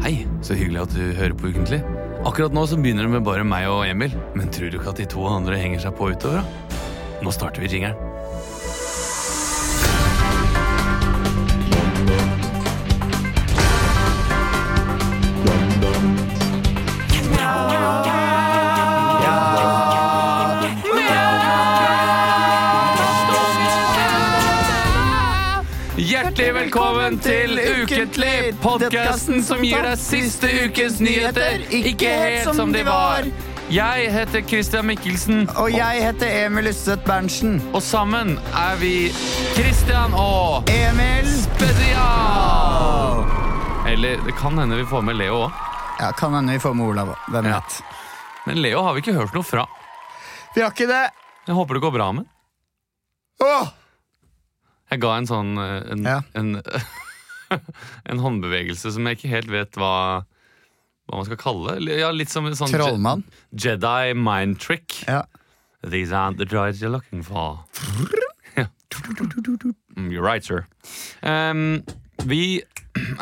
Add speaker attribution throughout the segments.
Speaker 1: Hei, så hyggelig at du hører på ukentlig. Akkurat nå så begynner det med bare meg og Emil, men tror du ikke at de to andre henger seg på utover? da? Nå starter vi jingeren. Hjertelig velkommen til Ukentlig, podkasten som gir deg siste ukes nyheter, ikke helt som de var. Jeg heter Christian Mikkelsen,
Speaker 2: Og jeg heter Emil Ysset Berntsen.
Speaker 1: og sammen er vi Christian og
Speaker 2: Emil
Speaker 1: Spesial! Eller det kan hende vi får med Leo òg.
Speaker 2: Ja, Kan hende vi får med Olav òg. Hvem
Speaker 1: Ja.
Speaker 2: vet.
Speaker 1: Men Leo har vi ikke hørt noe fra.
Speaker 2: Vi har ikke det!
Speaker 1: Jeg håper det går bra med
Speaker 2: Åh!
Speaker 1: Jeg ga en sånn eh, en,
Speaker 2: Ja.
Speaker 1: en, en håndbevegelse som jeg ikke helt vet hva, hva man skal kalle det. Ja, litt som en sånn Je-
Speaker 2: Trollmann.
Speaker 1: Jedi mind trick.
Speaker 2: Ja.
Speaker 1: These aren't the droids you're looking for. Ja. Mm, You're right, sir. Um, vi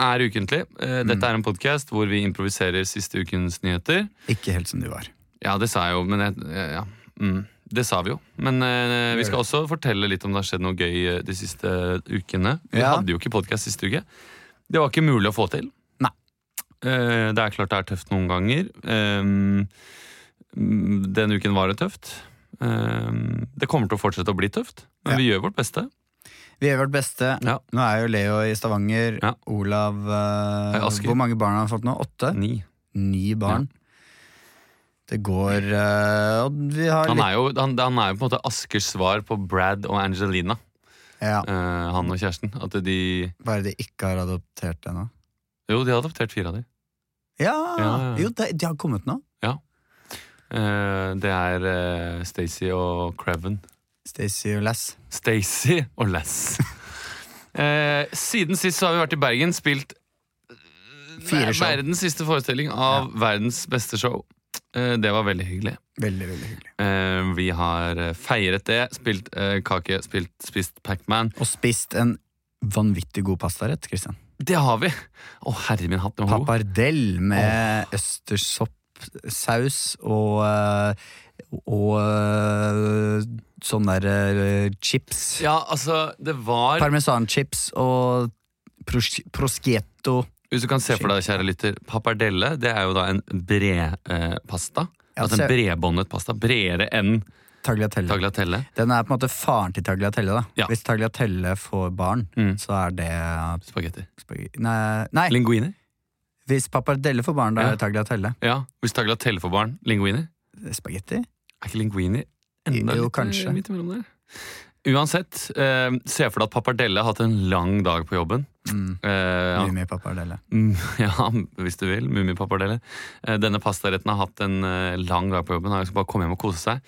Speaker 1: er ukentlig. Eh, Dette er en podkast hvor vi improviserer siste ukens nyheter.
Speaker 2: Ikke helt som de var.
Speaker 1: Ja, det sa jeg jo, men jeg, ja. mm, Det sa vi jo. Men eh, vi skal også fortelle litt om det har skjedd noe gøy eh, de siste ukene. Vi
Speaker 2: Ja.
Speaker 1: hadde jo ikke podkast siste uke. Det var ikke mulig å få til.
Speaker 2: Nei.
Speaker 1: Eh, det er klart det er tøft noen ganger. Um, den uken var det tøft. Um, det kommer til å fortsette å bli tøft, men
Speaker 2: Ja.
Speaker 1: vi gjør vårt beste.
Speaker 2: Vi gjør vårt beste.
Speaker 1: Ja.
Speaker 2: Nå er jo Leo i Stavanger.
Speaker 1: Ja.
Speaker 2: Olav eh,
Speaker 1: Hei, Asker.
Speaker 2: Hvor mange barn har han fått nå? Åtte?
Speaker 1: Ni.
Speaker 2: Ni barn. Det går eh, Og vi har
Speaker 1: Han er jo, han, han er jo på en måte Askers svar på Brad og Angelina,
Speaker 2: Ja,
Speaker 1: eh, han og kjæresten. At de
Speaker 2: Bare de ikke har adoptert ennå.
Speaker 1: Jo, de har adoptert fire av de.
Speaker 2: Ja!
Speaker 1: Ja, ja.
Speaker 2: Jo, de, de har kommet nå.
Speaker 1: Eh, det er eh, Stacey og Creven.
Speaker 2: Stacey og Lass.
Speaker 1: Stacey og Lass. Eh, siden sist så har vi vært i Bergen, spilt
Speaker 2: Fire show.
Speaker 1: verdens siste forestilling av verdens beste show. Eh, det var veldig hyggelig.
Speaker 2: Veldig, veldig hyggelig.
Speaker 1: Eh, vi har eh, feiret det, spilt eh, kake, spilt, spist Pacman.
Speaker 2: Og spist en vanvittig god pastarett, Christian.
Speaker 1: Det har vi! Å, herre min hatt, den var god.
Speaker 2: Pappardell med østerssopp, saus og eh, Og eh, sånn der eh, chips.
Speaker 1: Ja, altså, det var
Speaker 2: Parmesanchips og pros proschetto.
Speaker 1: Hvis du kan se for deg, kjære lytter, pappardelle det er jo da en bredpasta. Eh, pasta.
Speaker 2: Ja,
Speaker 1: altså en
Speaker 2: se-
Speaker 1: bredbåndet pasta. Bredere enn
Speaker 2: Tagliatelle.
Speaker 1: tagliatelle.
Speaker 2: Den er på en måte faren til tagliatelle. da
Speaker 1: Ja.
Speaker 2: Hvis tagliatelle får barn,
Speaker 1: Mm.
Speaker 2: så er det
Speaker 1: Spagetti.
Speaker 2: spag- Nei, nei.
Speaker 1: Linguiner?
Speaker 2: hvis pappardelle får barn, da er det tagliatelle.
Speaker 1: Ja. Hvis tagliatelle for barn, linguiner?
Speaker 2: Spagetti?
Speaker 1: Er ikke linguini enda
Speaker 2: Jo,
Speaker 1: litt, eh,
Speaker 2: kanskje.
Speaker 1: midt imellom der? Uansett, eh, se for deg at pappardelle har hatt en lang dag på jobben.
Speaker 2: Mm.
Speaker 1: Eh,
Speaker 2: Ja.
Speaker 1: han-
Speaker 2: Mye pappardelle.
Speaker 1: Mm, ja, hvis du vil. Mummipappardelle. Eh, Denne pastaretten har hatt en eh, lang dag på jobben. Han skal bare komme hjem og kose seg.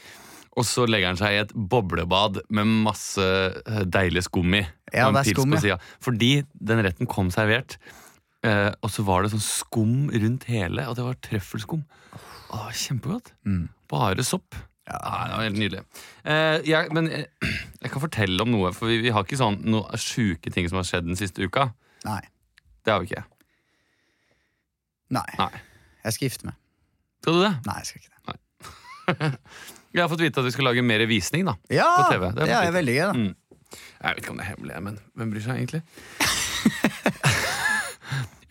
Speaker 1: Og så legger han seg i et boblebad med masse eh, deilig skum i.
Speaker 2: Ja,
Speaker 1: og en
Speaker 2: det er
Speaker 1: pils
Speaker 2: skum,
Speaker 1: på siden. Fordi den retten kom servert, eh, og så var det sånn skum rundt hele, og det var trøffelskum. Åh, kjempegodt.
Speaker 2: Mm.
Speaker 1: Bare sopp.
Speaker 2: Ja.
Speaker 1: Ah, det var helt nydelig. Eh, jeg, men eh, jeg kan fortelle om noe, for vi, vi har ikke sånn noen sjuke ting som har skjedd den siste uka.
Speaker 2: Nei.
Speaker 1: Det har vi ikke.
Speaker 2: Nei.
Speaker 1: Nei.
Speaker 2: Jeg skal gifte meg.
Speaker 1: Skal du det?
Speaker 2: Nei, jeg skal ikke det.
Speaker 1: Jeg har fått vite at vi skal lage mer visning, da.
Speaker 2: Ja!
Speaker 1: På TV, det er Mm.
Speaker 2: Det er
Speaker 1: fint.
Speaker 2: veldig gøy, da.
Speaker 1: Jeg vet ikke om det er hemmelig, men hvem bryr seg egentlig?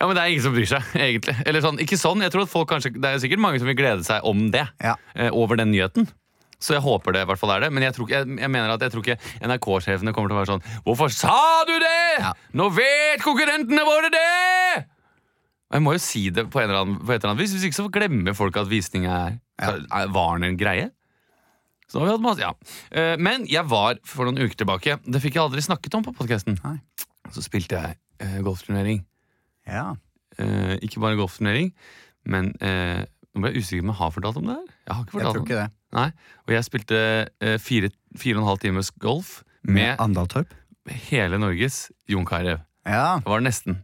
Speaker 1: Ja, men Det er ingen som bryr seg, egentlig. Eller sånn, ikke sånn, jeg tror at folk kanskje, Det er sikkert mange som vil glede seg om det,
Speaker 2: Ja.
Speaker 1: eh, over den nyheten. Så jeg håper det i hvert fall er det. Men jeg, tror, ikke- jeg, jeg mener at jeg tror ikke NRK-sjefene kommer til å være sånn Hvorfor sa du det?!
Speaker 2: Ja.
Speaker 1: Nå vet konkurrentene våre det! Og Jeg må jo si det på, en eller annen, på et eller annet vis, hvis ikke så glemmer folk at visning er, er Var den en greie? Så nå har vi hatt masse, ja. Eh, Men jeg var for noen uker tilbake Det fikk jeg aldri snakket om på podkasten.
Speaker 2: Nei.
Speaker 1: Så spilte jeg eh, golfturnering.
Speaker 2: Ja.
Speaker 1: Eh, ikke bare golfturnering, men eh, Nå ble jeg usikker om jeg har fortalt om det her. Jeg har ikke
Speaker 2: Jeg
Speaker 1: fortalt
Speaker 2: tror
Speaker 1: om det.
Speaker 2: ikke det.
Speaker 1: Nei. Og jeg spilte eh, fire, fire og en halv times golf med
Speaker 2: Andal Torp?
Speaker 1: hele Norges Jon Carew.
Speaker 2: Ja.
Speaker 1: Det var det nesten.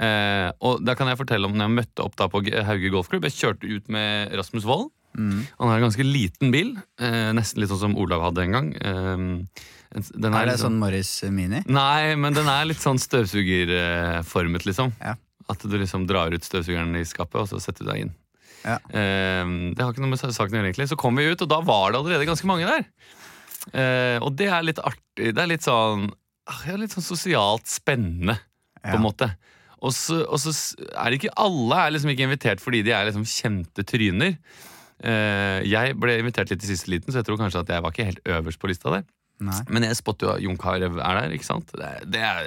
Speaker 1: Eh, og da kan jeg fortelle om når jeg møtte opp da på G- Hauge golfklubb. Jeg kjørte ut med Rasmus Wold.
Speaker 2: Mm.
Speaker 1: Han har en ganske liten bil. Eh, nesten litt sånn som Olav hadde en gang. Eh, den
Speaker 2: Er det
Speaker 1: litt
Speaker 2: sånn Morris Mini?
Speaker 1: Nei, men den er litt sånn støvsugerformet, liksom.
Speaker 2: Ja.
Speaker 1: At du liksom drar ut støvsugeren i skapet, og så setter du deg inn.
Speaker 2: Ja.
Speaker 1: Eh, det har ikke noe med saken å gjøre, egentlig. Så kom vi ut, og da var det allerede ganske mange der. Eh, og det er litt artig. Det er litt sånn ah, ja, Litt sånn sosialt spennende, på
Speaker 2: Ja.
Speaker 1: en måte. Og så, og så s- er det ikke alle er liksom ikke invitert fordi de er liksom kjente tryner. Eh, jeg ble invitert litt i siste liten, så jeg tror kanskje at jeg var ikke helt øverst på lista der.
Speaker 2: Nei.
Speaker 1: Men jeg spotter jo at Jon Carew er der, ikke sant? Det, er- det er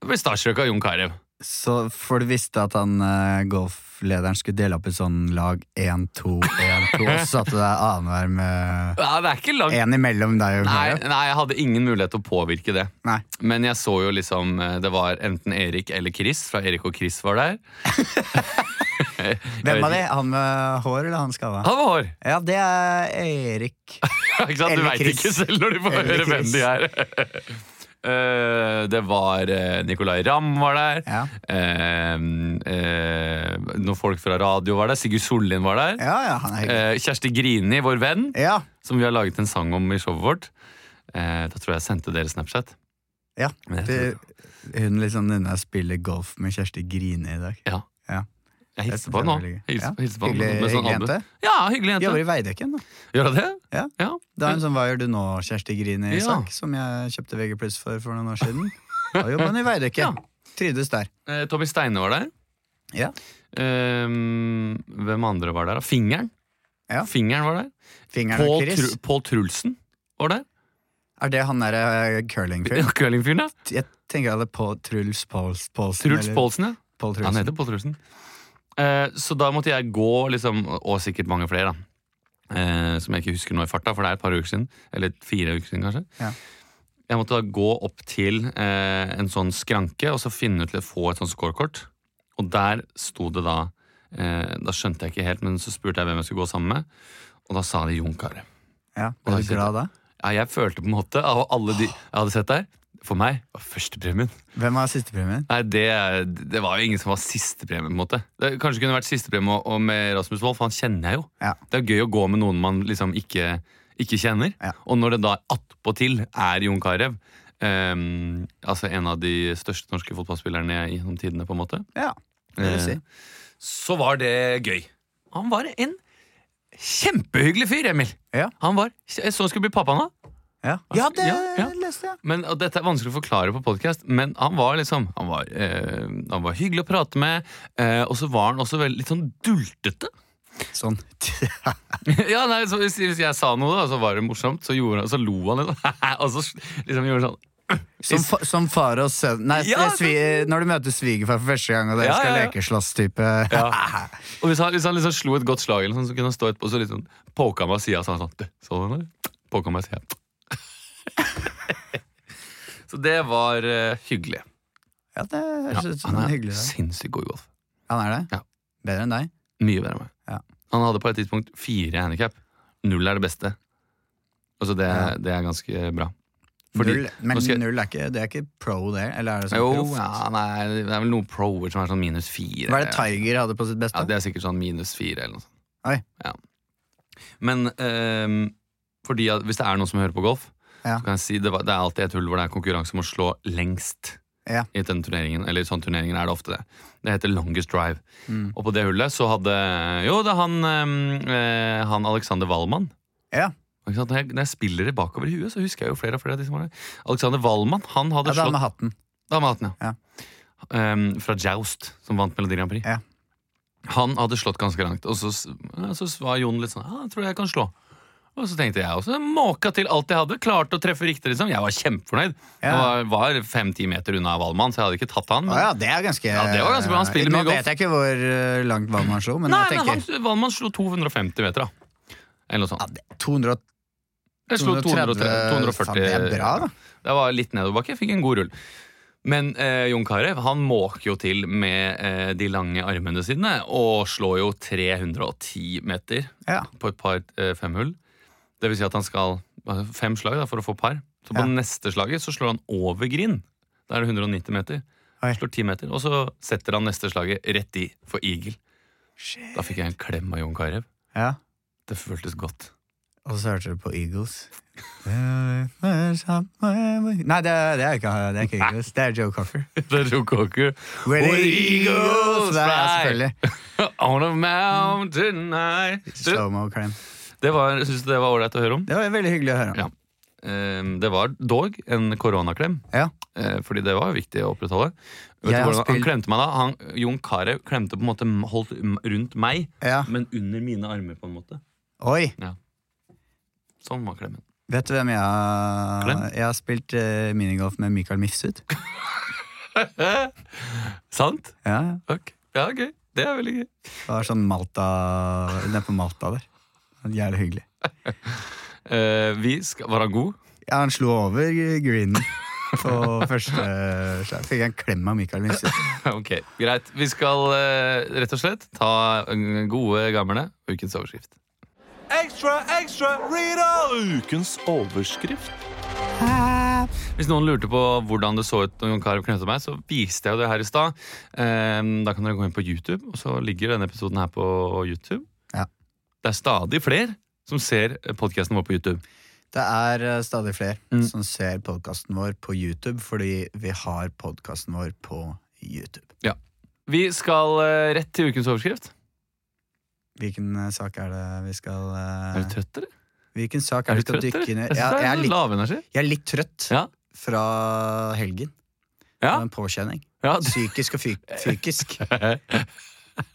Speaker 1: jeg ble starstruck av Jon Carew.
Speaker 2: Så for du visste at han eh, golflederen skulle dele opp i sånn lag 1, 2, 1, 2, og så satte du deg annenhver med
Speaker 1: Ja, det er ikke langt.
Speaker 2: én imellom deg og
Speaker 1: Nei,
Speaker 2: Mario?
Speaker 1: nei, jeg hadde ingen mulighet til å påvirke det.
Speaker 2: Nei.
Speaker 1: Men jeg så jo liksom eh, Det var enten Erik eller Chris, fra Erik og Chris var der. Jeg vet
Speaker 2: Hvem av de?
Speaker 1: ikke.
Speaker 2: Han med hår eller han skalla?
Speaker 1: Han var hår!
Speaker 2: Ja, det er Erik.
Speaker 1: Ikke sant? Du
Speaker 2: Eller
Speaker 1: veit
Speaker 2: Chris.
Speaker 1: ikke selv når du får
Speaker 2: Eller
Speaker 1: høre hvem
Speaker 2: Chris.
Speaker 1: de er. Eh, det var eh, Nicolay Ramm var der.
Speaker 2: Ja.
Speaker 1: Eh, eh, noen folk fra radio var der. Sigurd Sollien var der.
Speaker 2: Ja, ja, han er hyggelig.
Speaker 1: Eh, Kjersti Grini, vår venn,
Speaker 2: Ja,
Speaker 1: som vi har laget en sang om i showet vårt. Eh, da tror jeg jeg sendte dere Snapchat.
Speaker 2: ja.
Speaker 1: Men jeg
Speaker 2: Du,
Speaker 1: tror-
Speaker 2: hun liksom unna spiller golf med Kjersti Grine i dag.
Speaker 1: Ja.
Speaker 2: Ja.
Speaker 1: Jeg
Speaker 2: Jeg
Speaker 1: hilser
Speaker 2: synes
Speaker 1: på
Speaker 2: det er
Speaker 1: henne
Speaker 2: veldig
Speaker 1: nå.
Speaker 2: gøy.
Speaker 1: Hilser,
Speaker 2: Ja.
Speaker 1: hilser på henne
Speaker 2: Hyggelig-
Speaker 1: med sånn
Speaker 2: hyggelig
Speaker 1: album.
Speaker 2: jente.
Speaker 1: Ja, hyggelig
Speaker 2: Jobber
Speaker 1: jente.
Speaker 2: i Veidekken, da.
Speaker 1: Gjør hun det?
Speaker 2: Ja.
Speaker 1: ja.
Speaker 2: Det er en sånn Hva gjør du nå, Kjersti Grine,
Speaker 1: Mm. Ja.
Speaker 2: Isak, som jeg kjøpte VG pluss for for noen år siden. Da jobber hun i Veidekke.
Speaker 1: Ja.
Speaker 2: Trivdes der.
Speaker 1: Eh, Tommy Steine var der.
Speaker 2: Ja.
Speaker 1: Ehm, hvem andre var der? da? Fingeren.
Speaker 2: Ja.
Speaker 1: Fingeren var der.
Speaker 2: Fingeren og
Speaker 1: Pål
Speaker 2: Chris.
Speaker 1: Tru- Pål Trulsen var der.
Speaker 2: Er det han derre curlingfyren?
Speaker 1: Curlingfyren, ja.
Speaker 2: Jeg tenker at det er på Truls Pauls- Paulsen.
Speaker 1: Truls
Speaker 2: eller
Speaker 1: Poulsen, ja.
Speaker 2: Paul Trulsen.
Speaker 1: Han heter Pål Trulsen. Eh, så da måtte jeg gå, liksom, og sikkert mange flere, da. Eh, som jeg ikke husker nå i farta, for det er et par uker siden. Eller fire uker siden, kanskje.
Speaker 2: Ja.
Speaker 1: Jeg måtte da gå opp til eh, en sånn skranke og så finne ut til å få et sånt scorekort. Og der sto det da eh, Da skjønte jeg ikke helt, men så spurte jeg hvem jeg skulle gå sammen med. Og da sa de Jon Carew.
Speaker 2: Ja, Ble du glad da?
Speaker 1: Ja, jeg følte på en måte av alle de jeg hadde sett der For meg var førstepremien.
Speaker 2: Hvem har sistepremien?
Speaker 1: Nei, det, det var jo ingen som var sistepremie, på en måte. Det kanskje kunne vært sistepremie og- og med Rasmus Wold, for han kjenner jeg jo.
Speaker 2: Ja.
Speaker 1: Det er gøy å gå med noen man liksom ikke, ikke kjenner.
Speaker 2: Ja.
Speaker 1: Og når det da attpåtil er Jon Carew, ehm, altså en av de største norske fotballspillerne gjennom tidene, på en måte,
Speaker 2: Ja, det vil si.
Speaker 1: Eh, så var det gøy. Han var en kjempehyggelig fyr, Emil.
Speaker 2: Ja.
Speaker 1: Han var, jeg så han skulle bli pappa nå.
Speaker 2: Ja, ja det
Speaker 1: Eh, Ja, ja.
Speaker 2: leste jeg.
Speaker 1: Men, og dette er vanskelig å forklare på podkast, men han var liksom Han var, eh, han var hyggelig å prate med, eh, og så var han også veldig, litt sånn dultete.
Speaker 2: Sånn.
Speaker 1: ja, nei, så hvis, hvis jeg sa noe, da, så var det morsomt, så, gjorde han, så lo han litt, og så liksom gjorde han sånn.
Speaker 2: Som, fa som far og sønn Nei,
Speaker 1: Ja,
Speaker 2: svi når du møter svigerfar for første gang, og dere
Speaker 1: Ja,
Speaker 2: skal
Speaker 1: ja, ja.
Speaker 2: lekeslåss-type.
Speaker 1: Og hvis han, hvis han liksom slo et godt slag, eller sånn, så kunne han stå etterpå og så liksom poka meg i sida. Så han sånn, «Du, så du den, eller? Poka meg i sida. så det var eh, hyggelig.
Speaker 2: Ja, det
Speaker 1: Ja,
Speaker 2: høres ut som
Speaker 1: han
Speaker 2: en
Speaker 1: er
Speaker 2: hyggelig dag.
Speaker 1: sinnssykt god i golf.
Speaker 2: Han er det?
Speaker 1: Ja.
Speaker 2: Bedre enn deg?
Speaker 1: Mye bedre enn meg.
Speaker 2: Ja.
Speaker 1: Han hadde på et tidspunkt fire handikap. Null er det beste. Altså det,
Speaker 2: Ja.
Speaker 1: det er ganske bra. Fordi-
Speaker 2: null, men
Speaker 1: nå skal jeg-
Speaker 2: null er ikke, det er ikke pro, det? Eller er det sånn
Speaker 1: Jo,
Speaker 2: proff?
Speaker 1: ja, nei, det er vel noen proer som er sånn minus fire.
Speaker 2: Hva er det Tiger hadde på sitt beste?
Speaker 1: Ja, det er sikkert sånn minus fire eller noe sånt.
Speaker 2: Oi.
Speaker 1: Ja. Men ehm, fordi at, hvis det er noen som hører på golf,
Speaker 2: Ja.
Speaker 1: så kan jeg si det, var- det er alltid et hull hvor det er konkurranse om å slå lengst.
Speaker 2: Ja.
Speaker 1: I den turneringen, eller i sånne turneringer er det ofte det. Det heter longest drive.
Speaker 2: Mm.
Speaker 1: Og på det hullet så hadde Jo, det er han, ehm, eh, han Alexander Wallmann.
Speaker 2: Ja.
Speaker 1: Ikke sant? Når, jeg, når jeg spiller det bakover i huet, så husker jeg jo flere og flere av de som var der. Alexander Wallmann, han hadde
Speaker 2: Ja, det er
Speaker 1: slått
Speaker 2: med hatten.
Speaker 1: da med hatten, ja. ehm, fra Joust, som vant Melodi Grand Prix.
Speaker 2: Ja.
Speaker 1: Han hadde slått ganske langt, og så, s- ja, så var Jon litt sånn Ja, jeg tror jeg kan slå. Og så tenkte jeg også måka til alt jeg hadde. Klarte å treffe riktig. liksom Jeg var kjempefornøyd.
Speaker 2: Ja.
Speaker 1: Jeg var, var fem-ti meter unna Valmann, så jeg hadde ikke tatt han. men-
Speaker 2: Å ja, det er ganske
Speaker 1: Ja, det var ganske bra. Han spiller mye
Speaker 2: Nå
Speaker 1: golf.
Speaker 2: vet jeg ikke hvor eh, langt vann han slo, men
Speaker 1: Nei,
Speaker 2: jeg
Speaker 1: men han,
Speaker 2: tenker
Speaker 1: Valmann slo 250 meter, da. Eller noe
Speaker 2: ja,
Speaker 1: sånt.
Speaker 2: det- 200,
Speaker 1: Jeg slo 230,
Speaker 2: 240 Det er bra, da.
Speaker 1: Det var litt nedoverbakke. Fikk en god rull. Men eh, Jon Carew han måker jo til med eh, de lange armene sine og slår jo 310 meter
Speaker 2: Ja.
Speaker 1: på et par eh, femhull. Det vil si at han skal eh, fem slag da, for å få par. Så på
Speaker 2: Ja.
Speaker 1: neste slaget så slår han over grind. Da er det 190 meter.
Speaker 2: Oi.
Speaker 1: Slår 10 meter, Og så setter han neste slaget rett i for eagle. Da fikk jeg en klem av Jon Carew.
Speaker 2: ja.
Speaker 1: Det føltes godt.
Speaker 2: Og så hørte du på Eagles. Nei, det er, det er, ikke, det er ikke Eagles. Det er Joe Cocker.
Speaker 1: Det tok ikke
Speaker 2: Where
Speaker 1: the eagles
Speaker 2: Nei, ja,
Speaker 1: fly.
Speaker 2: selvfølgelig.
Speaker 1: On a mountain high Du,
Speaker 2: Slow-mo climb.
Speaker 1: Det var, synes du det var ålreit å høre om?
Speaker 2: Det var veldig hyggelig å høre om.
Speaker 1: Ja. Ehm, Det var dog en koronaklem,
Speaker 2: Ja.
Speaker 1: eh, fordi det var jo viktig å opprettholde. Vet
Speaker 2: Jeg
Speaker 1: du
Speaker 2: har
Speaker 1: hvordan han
Speaker 2: spilt-
Speaker 1: klemte meg da? Han, Jon Carew klemte på en måte holdt m- rundt meg,
Speaker 2: Ja.
Speaker 1: men under mine armer, på en måte.
Speaker 2: Oi!
Speaker 1: Sånn var klemmen.
Speaker 2: Vet du hvem jeg har
Speaker 1: Klem?
Speaker 2: Jeg har spilt eh, minigolf med Mikael Mifsud.
Speaker 1: Sant?
Speaker 2: Ja,
Speaker 1: Ok. Ja, gøy. Det er veldig gøy.
Speaker 2: det var sånn Malta Nede på Malta der. Jævlig hyggelig.
Speaker 1: Eh, vi skal, var han god?
Speaker 2: Ja, han slo over greenen på første slag. Fikk jeg en klem av Mikael Mifsud.
Speaker 1: ok, Greit. Vi skal eh, rett og slett ta eh, gode gamle ukens overskrift.
Speaker 3: Ekstra, ekstra, Rita! Ukens overskrift.
Speaker 1: Hvis noen lurte på hvordan det så ut når Jon Carew knyttet meg, så viste jeg jo det her i stad. Ehm, Da kan dere gå inn på YouTube, og så ligger denne episoden her på YouTube.
Speaker 2: Ja.
Speaker 1: Det er stadig flere som ser podkasten vår på YouTube.
Speaker 2: Det er eh, stadig flere
Speaker 1: Mm.
Speaker 2: som ser podkasten vår på YouTube, fordi vi har podkasten vår på YouTube.
Speaker 1: Vi skal eh, rett til ukens overskrift.
Speaker 2: Hvilken eh, sak er det vi skal eh,
Speaker 1: Er du trøtt, eller?
Speaker 2: Hvilken sak
Speaker 1: Er du
Speaker 2: er det vi skal
Speaker 1: trøtt, eller?
Speaker 2: dykke
Speaker 1: Jeg
Speaker 2: ned
Speaker 1: synes
Speaker 2: ja,
Speaker 1: det
Speaker 2: jeg,
Speaker 1: er
Speaker 2: er
Speaker 1: litt
Speaker 2: litt,
Speaker 1: lav energi.
Speaker 2: jeg er litt trøtt
Speaker 1: Ja.
Speaker 2: fra helgen.
Speaker 1: Ja.
Speaker 2: Det var En påkjenning.
Speaker 1: Ja.
Speaker 2: Psykisk og fyk, fykisk.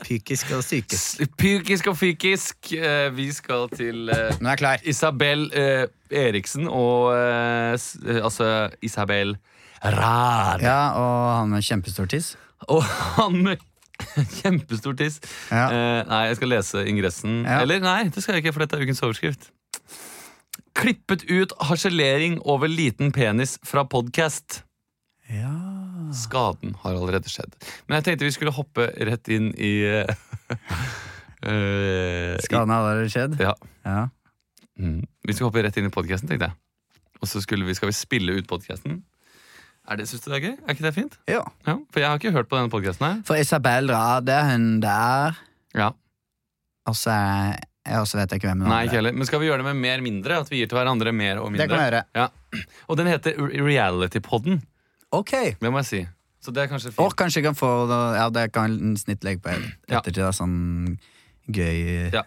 Speaker 2: Pykisk og psykisk.
Speaker 1: Pykisk og fykisk. Eh, Vi skal til eh,
Speaker 2: Nå er jeg klar.
Speaker 1: Isabel eh, Eriksen og eh, s- eh, Altså Isabel Rad.
Speaker 2: Ja, og han med kjempestor tiss.
Speaker 1: Og han med kjempestor tiss.
Speaker 2: Ja.
Speaker 1: Eh, nei, jeg skal lese ingressen.
Speaker 2: Ja.
Speaker 1: Eller nei, det skal jeg ikke, for dette er ukens overskrift. Klippet ut harselering over liten penis fra podkast.
Speaker 2: Eh, Ja.
Speaker 1: Skaden har allerede skjedd. Men jeg tenkte vi skulle hoppe rett inn i eh, eh,
Speaker 2: Skaden har allerede skjedd.
Speaker 1: i- Ja.
Speaker 2: Ja.
Speaker 1: Mm. Vi skal hoppe rett inn i podkasten, tenkte jeg. Og så skulle vi, skal vi spille ut podkasten. Er det, synes du det er gøy? Er ikke det fint?
Speaker 2: ja.
Speaker 1: Ja, For jeg har ikke hørt på denne podkasten her.
Speaker 2: For Isabel Rade, hun der
Speaker 1: Ja.
Speaker 2: Og så er- jeg også vet jeg ikke hvem hun
Speaker 1: Nei,
Speaker 2: andre
Speaker 1: ikke heller. Men skal vi gjøre det med mer mindre? At vi gir til hverandre mer og mindre?
Speaker 2: Det kan vi gjøre.
Speaker 1: Ja. Og den heter Re- Realitypodden.
Speaker 2: Ok.
Speaker 1: Det må jeg si. Så det er kanskje fint.
Speaker 2: Og kanskje jeg kan få da- Ja, det kan en snitt legge på et-
Speaker 1: Ja.
Speaker 2: ettertid. da, Sånn gøy
Speaker 1: Ja.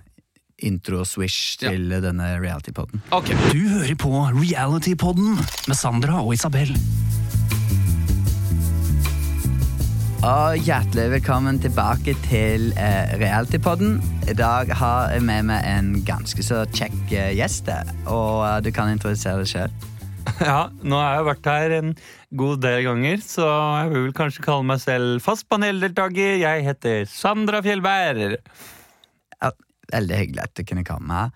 Speaker 2: intro-swish til denne reality-poden.
Speaker 1: Ok,
Speaker 4: Du hører på Reality-podden med Sandra og Isabel.
Speaker 2: Og hjertelig velkommen tilbake til eh, reality-podden. I dag har jeg med meg en ganske så kjekk eh, gjest. eh, Og eh, du kan introdusere deg sjøl.
Speaker 5: Ja, nå har jeg vært her en god del ganger, så jeg vil kanskje kalle meg selv fast paneldeltaker. Jeg heter Sandra Fjellberg.
Speaker 2: Ja, veldig hyggelig at du kunne komme.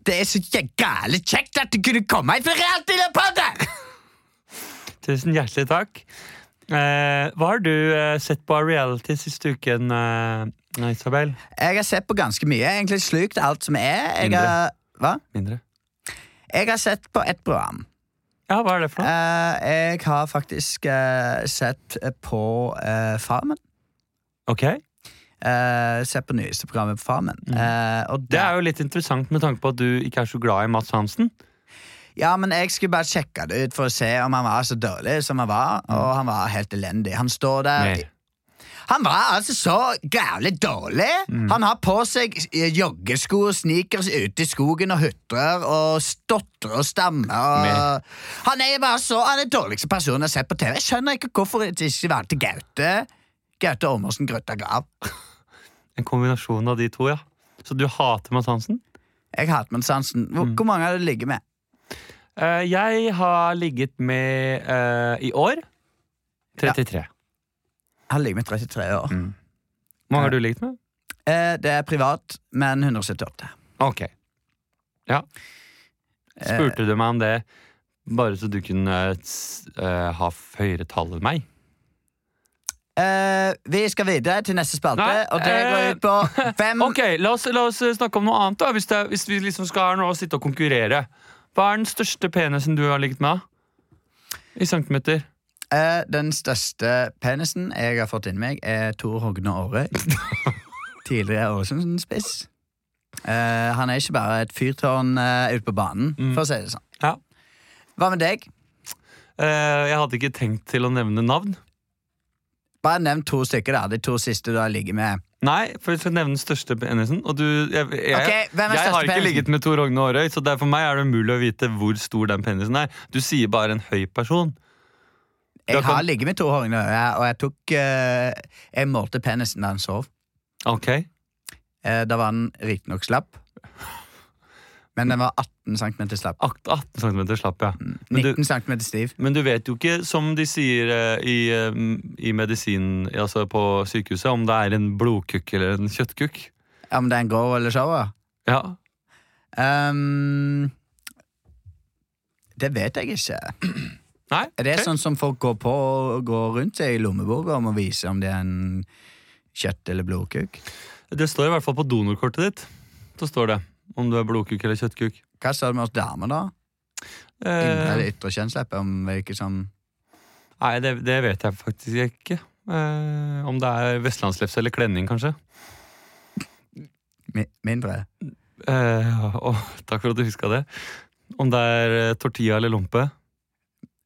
Speaker 2: Det er så gale kjekt at du kunne komme hit fra reality-podden!
Speaker 5: Tusen hjertelig takk. Eh, hva har du eh, sett på av reality siste uken, eh, Isabel?
Speaker 2: Jeg har sett på ganske mye. Jeg har egentlig slukt alt som er. Jeg
Speaker 1: Indre.
Speaker 2: har, hva?
Speaker 1: mindre.
Speaker 2: Jeg har sett på et program.
Speaker 5: Ja, hva er det for noe?
Speaker 2: Eh, jeg har faktisk eh, sett på eh, Farmen.
Speaker 5: Ok,
Speaker 2: Eh, sett på nyeste programmet på Farmen. Eh, og
Speaker 5: Mhm. Det
Speaker 2: der-
Speaker 5: er jo litt interessant med tanke på at du ikke er så glad i Mats Hansen.
Speaker 2: Ja, men jeg skulle bare sjekke det
Speaker 5: Mhm.
Speaker 2: ut for å se om han var så dårlig som han var. Og han var helt elendig. Han står der
Speaker 5: Mer.
Speaker 2: Han var altså så grævlig dårlig.
Speaker 5: Mhm.
Speaker 2: Han har på seg eh, joggesko og sneakers ute i skogen og hutrer og stotrer og stammer.
Speaker 6: Med-
Speaker 2: Og... Han er bare så Han er den dårligste personen jeg har sett på TV. Jeg skjønner ikke hvorfor de ikke valgte Gaute. Gaute Åmåsen Grøtta Grav.
Speaker 1: En kombinasjon av de to, ja. Så du hater Mads Hansen?
Speaker 2: Jeg hater Mads Hansen. Hvor,
Speaker 5: Mhm.
Speaker 2: hvor mange har du ligget med?
Speaker 1: Eh, jeg har ligget med eh, i år 33.
Speaker 2: Jeg har ligget med 33 år.
Speaker 1: Hvor mange har du ligget med?
Speaker 2: Eh, det er privat, men 178.
Speaker 1: Ok. Eh. Ja. Spurte du meg om det bare så du kunne eh, s- eh, ha f- høyere tall enn meg?
Speaker 2: Eh, vi skal videre til neste spalte,
Speaker 1: Nei,
Speaker 2: og det går
Speaker 1: eh,
Speaker 2: ut på hvem
Speaker 1: Ok, la oss, la oss eh, snakke om noe annet, da. Hvis, det, er- hvis vi liksom skal her nå og sitte og konkurrere. Hva er den største penisen du har ligget med? da? I centimeter.
Speaker 2: Eh, Den største penisen jeg har fått inni meg, er Tor Hogne Aare. Tidligere Ålesund-spiss. Eh, han er ikke bare et fyrtårn eh, ute på banen,
Speaker 1: Mm.
Speaker 2: for å si det sånn.
Speaker 1: Ja.
Speaker 2: Hva med deg?
Speaker 1: Eh, jeg hadde ikke tenkt til å nevne navn.
Speaker 2: Bare nevn to stykker, da. De to siste du har ligget med.
Speaker 1: Nei, for jeg skal nevne den største penisen. Og du, jeg, jeg,
Speaker 2: Ok, hvem er
Speaker 1: jeg
Speaker 2: største
Speaker 1: har ikke
Speaker 2: penisen?
Speaker 1: ligget med Tor Rogne Aarøy, så det er- for meg er det umulig å vite hvor stor den penisen er. Du sier bare en høy person. Da
Speaker 2: Jeg
Speaker 1: kan-
Speaker 2: har ligget med Tor Hogne Aare, og jeg tok eh, Jeg målte penisen da han sov.
Speaker 1: Ok.
Speaker 2: Eh, da var den riktignok slapp. Men den var 18 cm slapp.
Speaker 1: Akt- 18 cm slapp, ja. Men du,
Speaker 2: 19 cm stiv.
Speaker 1: men du vet jo ikke, som de sier eh, i, eh, m- i medisin, altså på sykehuset, om det er en blodkukk eller en kjøttkukk.
Speaker 2: Om det er en grå eller shower.
Speaker 1: Ja.
Speaker 2: Ehm, det vet jeg ikke.
Speaker 1: Nei?
Speaker 2: Er det
Speaker 1: ok.
Speaker 2: sånn som folk går på og går rundt seg i lommeboka om å vise om det er en kjøtt- eller blodkuk? sånn-
Speaker 1: Det står i hvert fall på donorkortet ditt. Så står det om du er blodkukk eller kjøttkukk.
Speaker 2: Hva står det med oss damer, da? Indre
Speaker 1: Eh,
Speaker 2: eller ytre kjønnsleppe? Om hvilke som
Speaker 1: Nei, det, det vet jeg faktisk ikke. Eh, om det er vestlandslepse eller klenning, kanskje.
Speaker 2: mi mindre?
Speaker 1: Eh, å, takk for at du huska det. Om det er eh, tortilla eller lompe.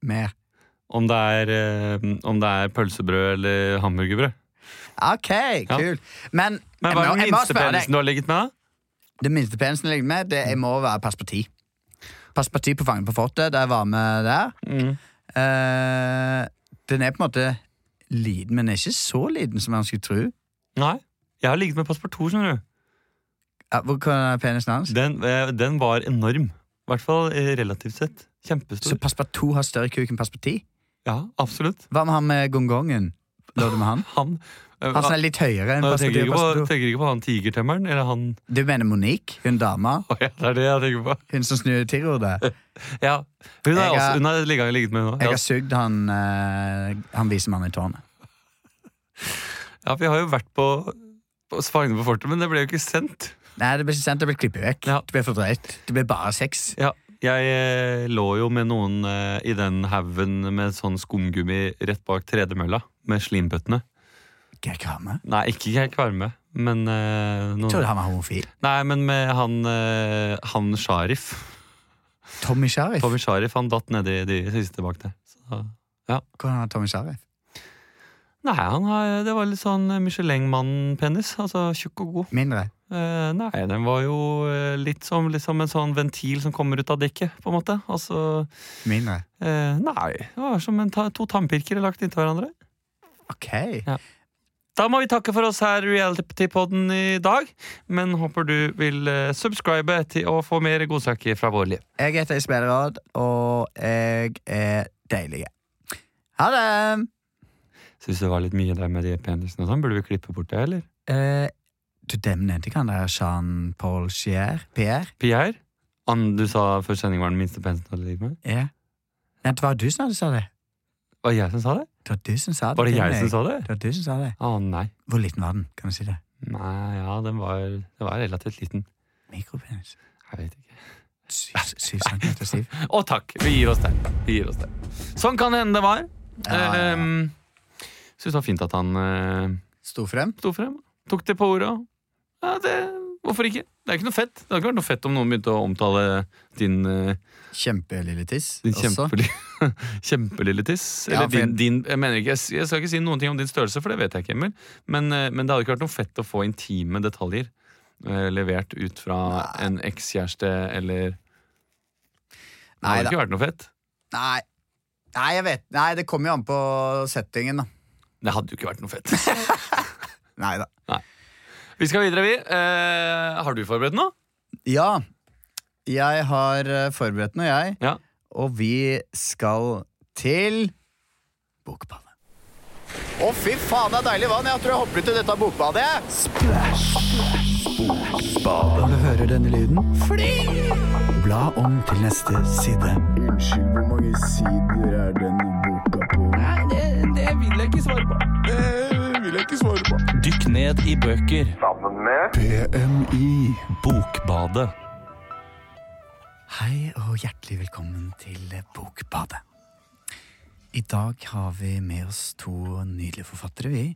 Speaker 2: Mer?
Speaker 1: Om det er, eh, om det er pølsebrød eller hamburgerbrød.
Speaker 2: OK,
Speaker 1: Ja.
Speaker 2: kult. Men,
Speaker 1: Men hva er
Speaker 2: jeg må-
Speaker 1: den
Speaker 2: jeg må
Speaker 1: minste
Speaker 2: spørre deg.
Speaker 1: penisen du har ligget med? da?
Speaker 2: Det minste penisen jeg ligger med, det jeg må være passeparti. Passeparti på Fangen på fortet, da jeg var med der.
Speaker 1: Mm.
Speaker 2: Eh, den er på en måte liten, men ikke så liten som man skulle tro.
Speaker 1: Nei. Jeg har ligget med passepartout, skjønner du.
Speaker 2: Ja, hvor kan penisen hans?
Speaker 1: Den, eh, den var enorm. I hvert fall eh, relativt sett.
Speaker 2: Så
Speaker 1: Kjempestor.
Speaker 2: Passepartout har større kuk enn Passeparti?
Speaker 1: Ja, absolutt.
Speaker 2: Hva med han med gongongen? Lå du med han?
Speaker 1: Han eh,
Speaker 2: Han som er litt høyere enn
Speaker 1: Nå, jeg tenker ikke,
Speaker 2: Passeparti og
Speaker 1: på,
Speaker 2: Passepartout?
Speaker 1: tenker ikke på han tigertemmeren, eller han
Speaker 2: Du mener Monique, hun dama?
Speaker 1: Å ja, Det er det jeg tenker på.
Speaker 2: Hun som snur tirordet?
Speaker 1: Ja, Hun har
Speaker 2: Jeg
Speaker 1: også
Speaker 2: er-
Speaker 1: hun har ligget, ligget med henne.
Speaker 2: Jeg
Speaker 1: Ja,
Speaker 2: har sugd han, uh, han visemannen i tårnet.
Speaker 1: ja, vi har jo vært på, på Spangen på fortet, men det ble jo ikke sendt.
Speaker 2: Nei, det blir ikke sendt, det blir klippet vekk.
Speaker 1: Ja.
Speaker 2: Det blir for drøyt. Det blir bare sex.
Speaker 1: Ja, Jeg eh, lå jo med noen eh, i den haugen med sånn skumgummi rett bak tredemølla. Med slimbøttene.
Speaker 2: Geir Kramer?
Speaker 1: Nei, ikke Geir Kvarme, men eh,
Speaker 2: Jeg trodde
Speaker 1: noen,
Speaker 2: han var homofil.
Speaker 1: Nei, men med han, eh, han Sharif.
Speaker 2: Tommy Sharif?
Speaker 1: Tommy Sharif han datt nedi de siste bak der. Så,
Speaker 2: Hvordan er Tommy Sharif?
Speaker 1: nei, han har, det var litt sånn Michelin-mann-penis. Altså tjukk og god.
Speaker 2: Mindre?
Speaker 1: Eh, nei, den var jo eh, litt som liksom en sånn ventil som kommer ut av dekket, på en måte. Altså,
Speaker 2: Mindre.
Speaker 1: eh, nei, det var som en ta to tannpirkere lagt inntil hverandre.
Speaker 2: Ok.
Speaker 1: Da må vi takke for oss her i Reality-podden i dag, men håper du vil eh, subscribe til å få mer godsaker fra vår liv.
Speaker 2: Jeg heter Espen Råd, og jeg er deilig. Ha det!
Speaker 1: Syns det var litt mye der med de penisene og sånn. Burde vi klippe bort det, eller?
Speaker 2: Eh, du, dem nevnte ikke han der Jean-Paul Gier? Pierre?
Speaker 1: Pierre? Han du sa før sending var den minste penisen du hadde ligget med?
Speaker 2: Ja. Nei, det var du som hadde sa det.
Speaker 1: Var det jeg som sa det?
Speaker 2: Det var du som sa det.
Speaker 1: Var det
Speaker 2: til
Speaker 1: jeg
Speaker 2: meg.
Speaker 1: som sa det?
Speaker 2: Det var du som sa det.
Speaker 1: Å nei.
Speaker 2: Hvor liten var den? Kan du si det?
Speaker 1: Nei, ja, den var, den var relativt liten.
Speaker 2: Mikropenis.
Speaker 1: Jeg vet ikke.
Speaker 2: Syv syv centimeter stiv.
Speaker 1: Og takk. Vi gir oss der. Vi gir oss der. Sånn kan det hende det var.
Speaker 2: Ja, ja, ja.
Speaker 1: Ehm, Syns det var fint at han eh,
Speaker 2: Sto frem.
Speaker 1: sto frem. Tok det på ordet. og- Ja, det Hvorfor ikke? Det er ikke noe fett. Det hadde ikke vært noe fett om noen begynte å omtale din, eh,
Speaker 2: Kjempelille tiss
Speaker 1: din
Speaker 2: også.
Speaker 1: kjempelille, kjempelille tiss. Eller
Speaker 2: Ja, for
Speaker 1: din, din Jeg mener ikke, jeg, s- jeg skal ikke si noen ting om din størrelse, for det vet jeg ikke, Emil. Men, eh, men det hadde ikke vært noe fett å få intime detaljer eh, levert ut fra en ekskjæreste eller Det
Speaker 2: Nei
Speaker 1: hadde
Speaker 2: da.
Speaker 1: ikke vært noe fett.
Speaker 2: Nei. Nei, jeg vet. Nei, det kommer jo an på settingen, da.
Speaker 1: Det hadde jo ikke vært noe fett.
Speaker 2: Nei da.
Speaker 1: Vi skal videre, vi. Eh, har du forberedt noe?
Speaker 2: Ja, jeg har eh, forberedt noe, jeg.
Speaker 1: Ja.
Speaker 2: Og vi skal til Bokbadet. Å, fy faen, det er deilig vann! Jeg tror jeg hopper ut i dette bokbadet. Bokbadet.
Speaker 7: Du hører denne lyden?
Speaker 2: Bla om til neste side. Unnskyld, hvor mange sider er denne boka på?
Speaker 4: Dykk ned i bøker.
Speaker 2: PMI.
Speaker 4: Bokbadet.
Speaker 2: Hei og hjertelig velkommen til Bokbadet. I dag har vi med oss to nydelige forfattere, vi.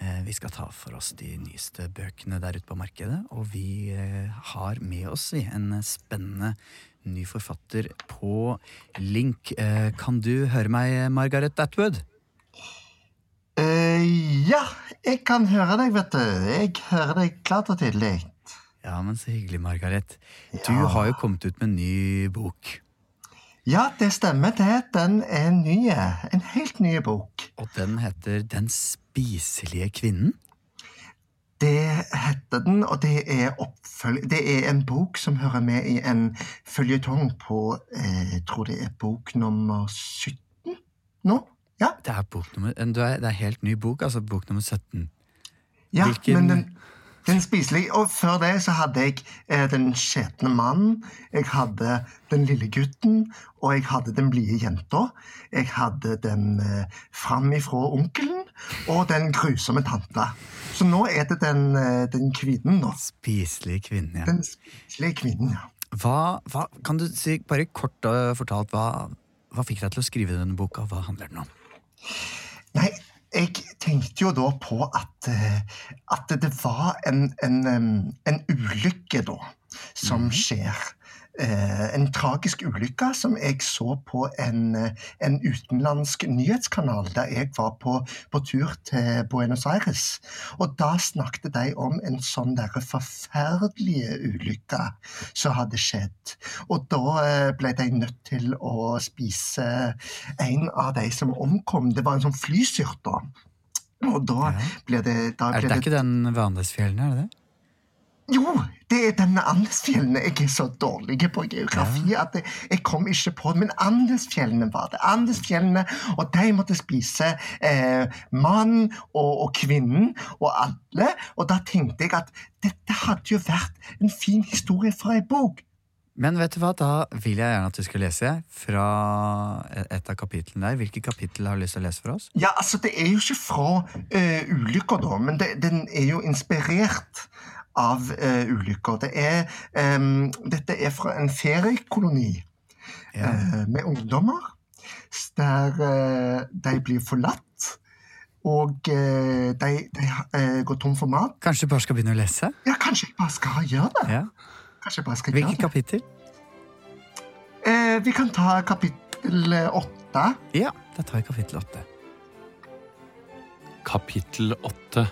Speaker 2: Eh, Vi skal ta for oss de nyeste bøkene der ute på markedet, og vi eh, har med oss vi, en spennende ny forfatter på link. Eh, Kan du høre meg, Margaret Atwood?
Speaker 8: Eh, ja, jeg kan høre deg, vet du. Jeg hører deg klart og tydelig.
Speaker 2: Ja, men så hyggelig, Margaret. Du har jo kommet ut med en ny bok.
Speaker 8: Ja, det stemmer det. Den er ny. En helt ny bok.
Speaker 2: Og den heter Den spiselige kvinnen.
Speaker 8: Det heter den, og det er, oppfølg- det er en bok som hører med i en føljetong på eh, Jeg tror det er bok nummer 17 nå. Ja,
Speaker 2: Det er, bok nummer, eh, du er, det er helt ny bok, altså bok nummer 17.
Speaker 8: ja
Speaker 2: Hvilken-
Speaker 8: men den, den spiselige Og før det så hadde jeg eh, Den skjetne mannen, jeg hadde Den lille gutten, og jeg hadde Den blide jenta. Jeg hadde Den eh, framifrå onkelen, og Den grusomme tanta. Så nå er det Den, eh, den kvinnen, nå.
Speaker 2: Spiselig kvinne, ja.
Speaker 8: Den spiselige kvinnen, ja.
Speaker 2: Hva, hva, kan du si, bare kort eh, fortalt, hva, hva fikk deg til å skrive denne boka? Hva handler den om?
Speaker 8: Nei, jeg tenkte jo da på at, eh, at det var en, en, em, en ulykke da, som skjer. Eh, en tragisk ulykke som jeg så på en, eh, en utenlandsk nyhetskanal da jeg var på, på tur til Buenos Aires. Og da snakket de om en sånn der forferdelige ulykke som hadde skjedd. Og da eh, ble de nødt til å spise en av de som omkom, det var en sånn flysyrt da. Og da ble det... Da
Speaker 2: Er,
Speaker 8: ble
Speaker 2: det er ikke den ved Andesfjellene, er det det?
Speaker 8: Jo, det er denne Andesfjellene. Jeg er så dårlig på geografi at jeg, jeg kom ikke på det. Men Andesfjellene var det. Andesfjellene, Og de måtte spise eh, mannen og, og kvinnen og alle. Og da tenkte jeg at dette hadde jo vært en fin historie fra ei bok.
Speaker 2: Men vet du hva, da vil jeg gjerne at du skal lese fra et av kapitlene der. Hvilket kapittel har du lyst til å lese for oss?
Speaker 8: Ja, altså, det er jo ikke fra uh, ulykker, da, men det, den er jo inspirert av eh, ulykker. Det er, em, dette er fra en feriekoloni.
Speaker 2: Ja.
Speaker 8: eh, med ungdommer, s- der eh, de blir forlatt, og eh, de, de eh, går tom for mat.
Speaker 2: Kanskje du bare skal begynne å lese?
Speaker 8: Ja, kanskje jeg bare skal gjøre det?
Speaker 2: Ja.
Speaker 8: Kanskje jeg bare skal
Speaker 2: Hvilket
Speaker 8: gjøre det.
Speaker 2: kapittel?
Speaker 8: Eh, vi kan ta kapittel eh, åtte.
Speaker 2: Ja, da tar vi kapittel åtte.
Speaker 1: Kapittel 8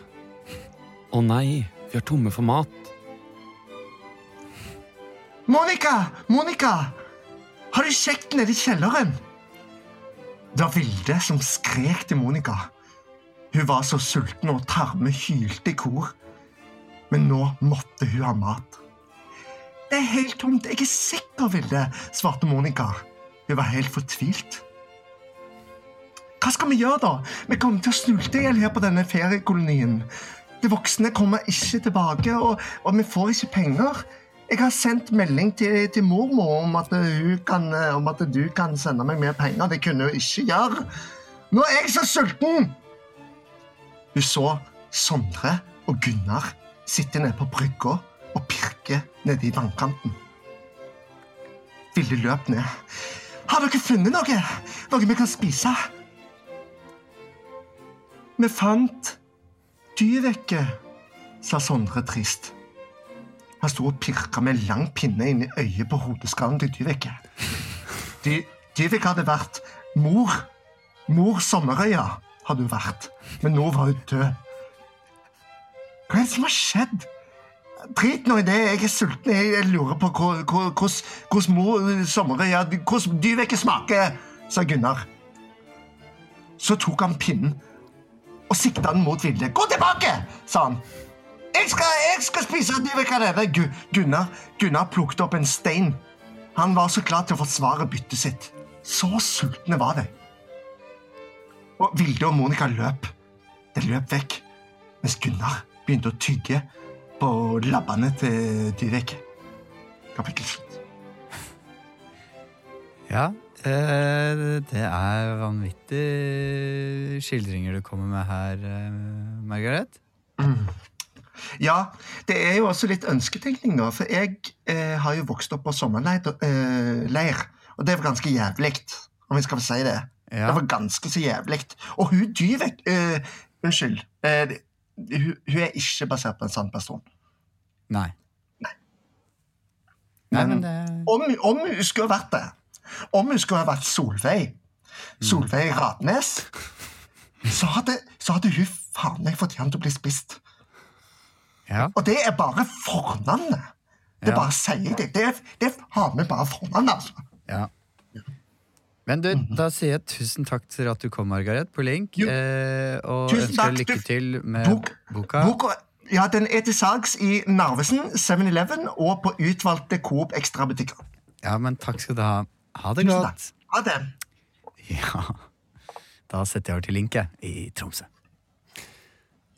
Speaker 1: Å nei, vi er tomme for mat.
Speaker 8: Monica! Monica! Har du kjekt nede i kjelleren? Det var Vilde som skrek til Monica. Hun var så sulten og tarme hylte i kor. Men nå måtte hun ha mat. Det er helt tomt, jeg er sikker, Vilde, svarte Monica. Hun var helt fortvilt. Hva skal vi gjøre, da? Vi kommer til å snulte i hjel her på denne feriekolonien. De voksne kommer ikke tilbake, og, og vi får ikke penger. Jeg har sendt melding til, til mormor om at, hun kan, om at du kan sende meg mer penger. Det kunne hun ikke gjøre. Nå er jeg så sulten! Hun så Sondre og Gunnar sitte nede på brygga og pirke nede i vannkanten. Ville løp ned. Har dere funnet noe? Noe vi kan spise? Vi fant Dyveke, sa Sondre trist. Han sto og pirka med lang pinne inn i øyet på hodeskallen til Dyvik. Dy Dyvik hadde vært mor. Mor Sommerøya hadde hun vært, men nå var hun død. Hva er det som har skjedd? Drit nå i det, jeg er sulten. Jeg jeg lurer på hvor- hvor- hvordan hvordan mor Sommerøya Hvordan Dyvik smaker, sa Gunnar. Så tok han pinnen og sikta den mot Vilde. Gå tilbake, sa han. Jeg skal, jeg skal spise dyvekarene. Gu- Gunnar, Gunnar plukket opp en stein. Han var så klar til å forsvare byttet sitt. Så sultne var de. Og Vilde og Monica løp. De løp vekk, mens Gunnar begynte å tygge på labbene til Dyvik. Kapittel slutt.
Speaker 2: Ja, eh, det er vanvittige skildringer du kommer med her, eh, Margaret.
Speaker 8: Ja, det er jo også litt ønsketenkning, da. For jeg eh, har jo vokst opp på sommerleir, eh, leir, og det var ganske jævlig, om jeg skal få si det.
Speaker 2: Ja.
Speaker 8: Det var ganske så jævlig. Og hun Dyvek eh, Unnskyld. Eh, hun, hun er ikke basert på en sann person.
Speaker 2: Nei. Nei, men det
Speaker 8: Om, om hun skulle ha vært det, om hun skulle ha vært Solveig,
Speaker 2: Mm.
Speaker 8: Solveig Radnes, så hadde, så hadde hun faen meg fortjent å bli spist.
Speaker 2: Ja.
Speaker 8: Og det er bare fornavnet.
Speaker 2: Ja.
Speaker 8: Det bare sier jeg det. Det er, det er faen meg bare fornavnet, altså.
Speaker 2: Ja. Men du, da sier jeg tusen takk for at du kom, Margaret, på link.
Speaker 8: Mhm. Jo.
Speaker 2: Eh, og
Speaker 8: Tusen
Speaker 2: ønsker
Speaker 8: takk,
Speaker 2: deg lykke
Speaker 8: du-
Speaker 2: til med
Speaker 8: Bok,
Speaker 2: boka.
Speaker 8: boka ja, den er til salgs i Narvesen, 7-Eleven og på utvalgte Coop Extra-butikker.
Speaker 2: Ja, men takk skal du ha. Ha det
Speaker 8: Tusen
Speaker 2: godt.
Speaker 8: takk. Ha det.
Speaker 2: Ja. Da setter jeg over til Linke i Tromsø.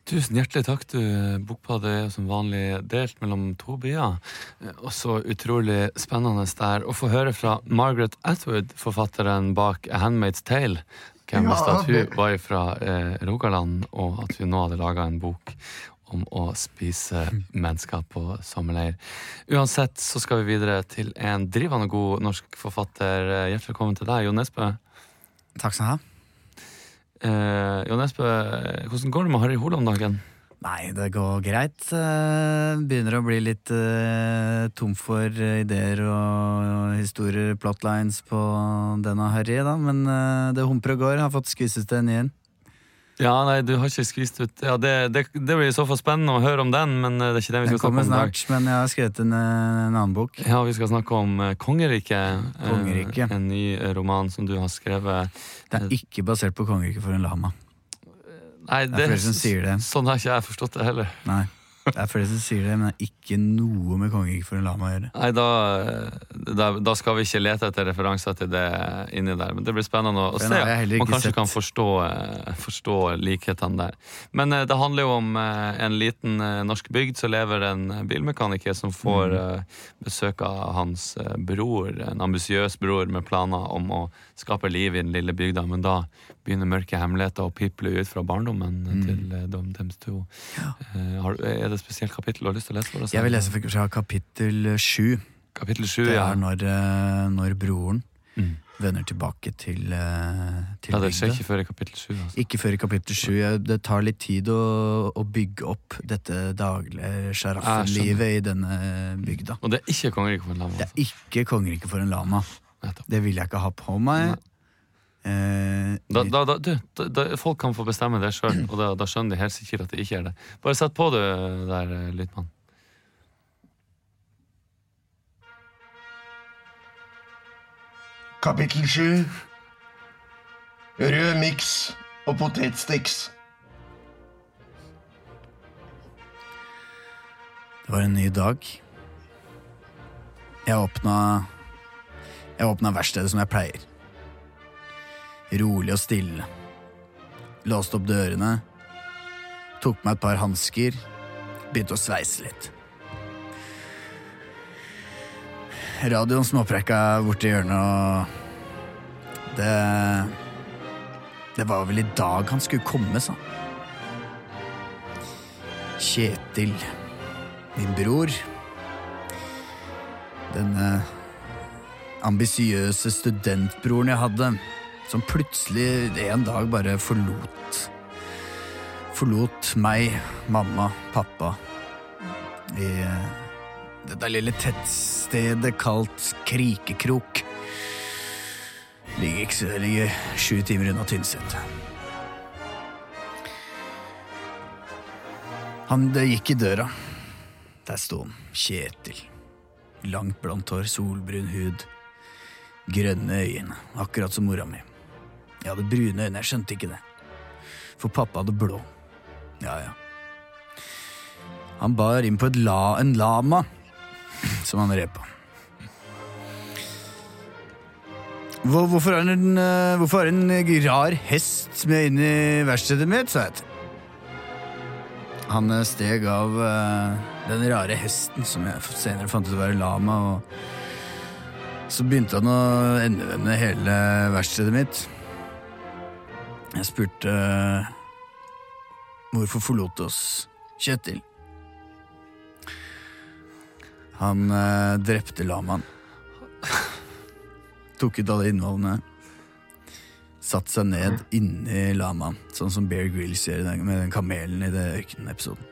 Speaker 1: Tusen hjertelig takk. du Bokbadet er som vanlig delt mellom to byer. Eh, Også utrolig spennende der å få høre fra Margaret Atwood, forfatteren bak A Handmaid's Tale. Hvem
Speaker 8: Ja,
Speaker 1: visste at
Speaker 8: det-
Speaker 1: hun var fra eh, Rogaland, og at hun nå hadde laga en bok om å spise mennesker på sommerleir. Uansett så skal vi videre til en drivende god norsk forfatter. Eh, Hjertelig velkommen til deg, Jo Nesbø.
Speaker 2: Takk skal du ha.
Speaker 1: Eh, jo Nesbø, hvordan går det med Harry Hole om dagen?
Speaker 2: Nei, det går greit. Eh, Begynner å bli litt eh, tom for eh, ideer og historier, plotlines, på denne Harry, da. Men eh, det humper og går. Har fått skvises til en ny en.
Speaker 1: Ja, nei, du har ikke skvist ut ja, det, det, det blir i så fall spennende å høre om den, men eh, det er ikke det vi skal
Speaker 2: Den
Speaker 1: snakke om
Speaker 2: kommer
Speaker 1: i dag.
Speaker 2: snart, men jeg har skrevet en, eh, en annen bok.
Speaker 1: Ja, Vi skal snakke om eh, Kongeriket. eh,
Speaker 2: Kongeriket.
Speaker 1: En ny eh, roman som du har skrevet.
Speaker 2: Det er ikke basert på kongeriket for en lama.
Speaker 1: Nei,
Speaker 2: Det er flere som sier det.
Speaker 1: Sånn har ikke jeg forstått det heller.
Speaker 2: Nei. Det er flere som sier det, men det er ikke noe med kongeriket for en lama å gjøre.
Speaker 1: Nei, da, eh, da, da skal vi ikke lete etter referanser til det inni der. Men det blir spennende å, å
Speaker 2: Den
Speaker 1: se.
Speaker 2: har jeg heller
Speaker 1: Man
Speaker 2: ikke
Speaker 1: kanskje
Speaker 2: sett.
Speaker 1: kan forstå, eh, forstå likhetene der. Men eh, det handler jo om eh, en liten eh, norsk bygd som lever en bilmekaniker som får
Speaker 2: Mm.
Speaker 1: eh, besøk av hans eh, bror, en ambisiøs bror med planer om å skape liv i den lille bygda. Men da begynner mørke hemmeligheter å piple ut fra barndommen eh,
Speaker 2: Mm.
Speaker 1: til eh, dem, dems to. Eh, har du- Er det et spesielt kapittel du har lyst til å lese for oss?
Speaker 2: Jeg vil lese fra kapittel sju.
Speaker 1: kapittel sju.
Speaker 2: Det
Speaker 1: ja.
Speaker 2: er når, eh, når broren
Speaker 1: Mm.
Speaker 2: vender tilbake til, eh, til
Speaker 1: Ja, det skjer
Speaker 2: bygda.
Speaker 1: ikke før i kapittel 7. Altså.
Speaker 2: Ikke før i kapittel sju. Jeg- Det tar litt tid å, å bygge opp dette daglige sjaraffenlivet i denne eh, bygda.
Speaker 1: Og det er ikke kongeriket for en lama.
Speaker 2: Det er
Speaker 1: Altså.
Speaker 2: ikke kongeriket for en lama.
Speaker 1: Nettopp.
Speaker 2: Det vil jeg ikke ha på meg. Eh,
Speaker 1: Da, da, da, du, da, da, folk kan få bestemme det sjøl, og da, da skjønner de helt sikkert at det ikke er det. Bare sett på det der, eh, lydmann.
Speaker 8: Kapittel 7 Rød miks og potetsticks.
Speaker 2: Det var en ny dag. Jeg åpna Jeg åpna verkstedet som jeg pleier. Rolig og stille. Låste opp dørene. Tok på meg et par hansker. Begynte å sveise litt. Radioen småprekka borti hjørnet, og Det Det var vel i dag han skulle komme, sa han. Kjetil min bror. Denne ambisiøse studentbroren jeg hadde, som plutselig en dag bare forlot Forlot meg, mamma, pappa, i eh, Dette lille tettstedet kalt Krikekrok ligger ikke så det ligger sju timer unna Tynset. Han det gikk i døra. Der sto han, Kjetil. Langt blondt hår, solbrun hud, grønne øyne, akkurat som mora mi. Jeg hadde brune øyne, jeg skjønte ikke det. For pappa hadde blå. Ja, ja. Han bar inn på et la, en lama som han red på. Hvor, hvorfor har en, eh, hvorfor har en eh, rar hest med inne i verkstedet mitt, sa jeg til Han eh, steg av eh, den rare hesten som jeg f- senere fant ut å være lama, og så begynte han å endevende hele verkstedet mitt. Jeg spurte eh, hvorfor forlot du oss, Kjetil? Han eh, drepte lamaen. Tok ut alle innvollene. Satt seg ned inni lamaen, sånn som Bear Grylls gjør i den- med den kamelen i det ørkenepisoden.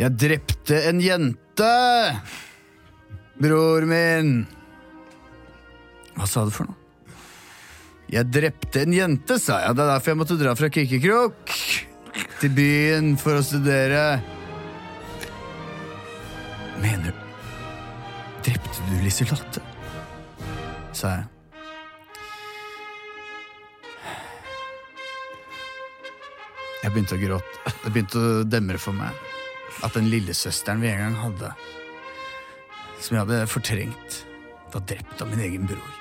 Speaker 2: Jeg drepte en jente! Bror min! Hva sa du for noe? Jeg drepte en jente, sa jeg. Det er derfor jeg måtte dra fra Kikkekrok til byen for å studere. Mener du Drepte du Liselotte? sa jeg. Jeg begynte å gråte. Det begynte å demre for meg at den lillesøsteren vi en gang hadde, som jeg hadde fortrengt, var drept av min egen bror.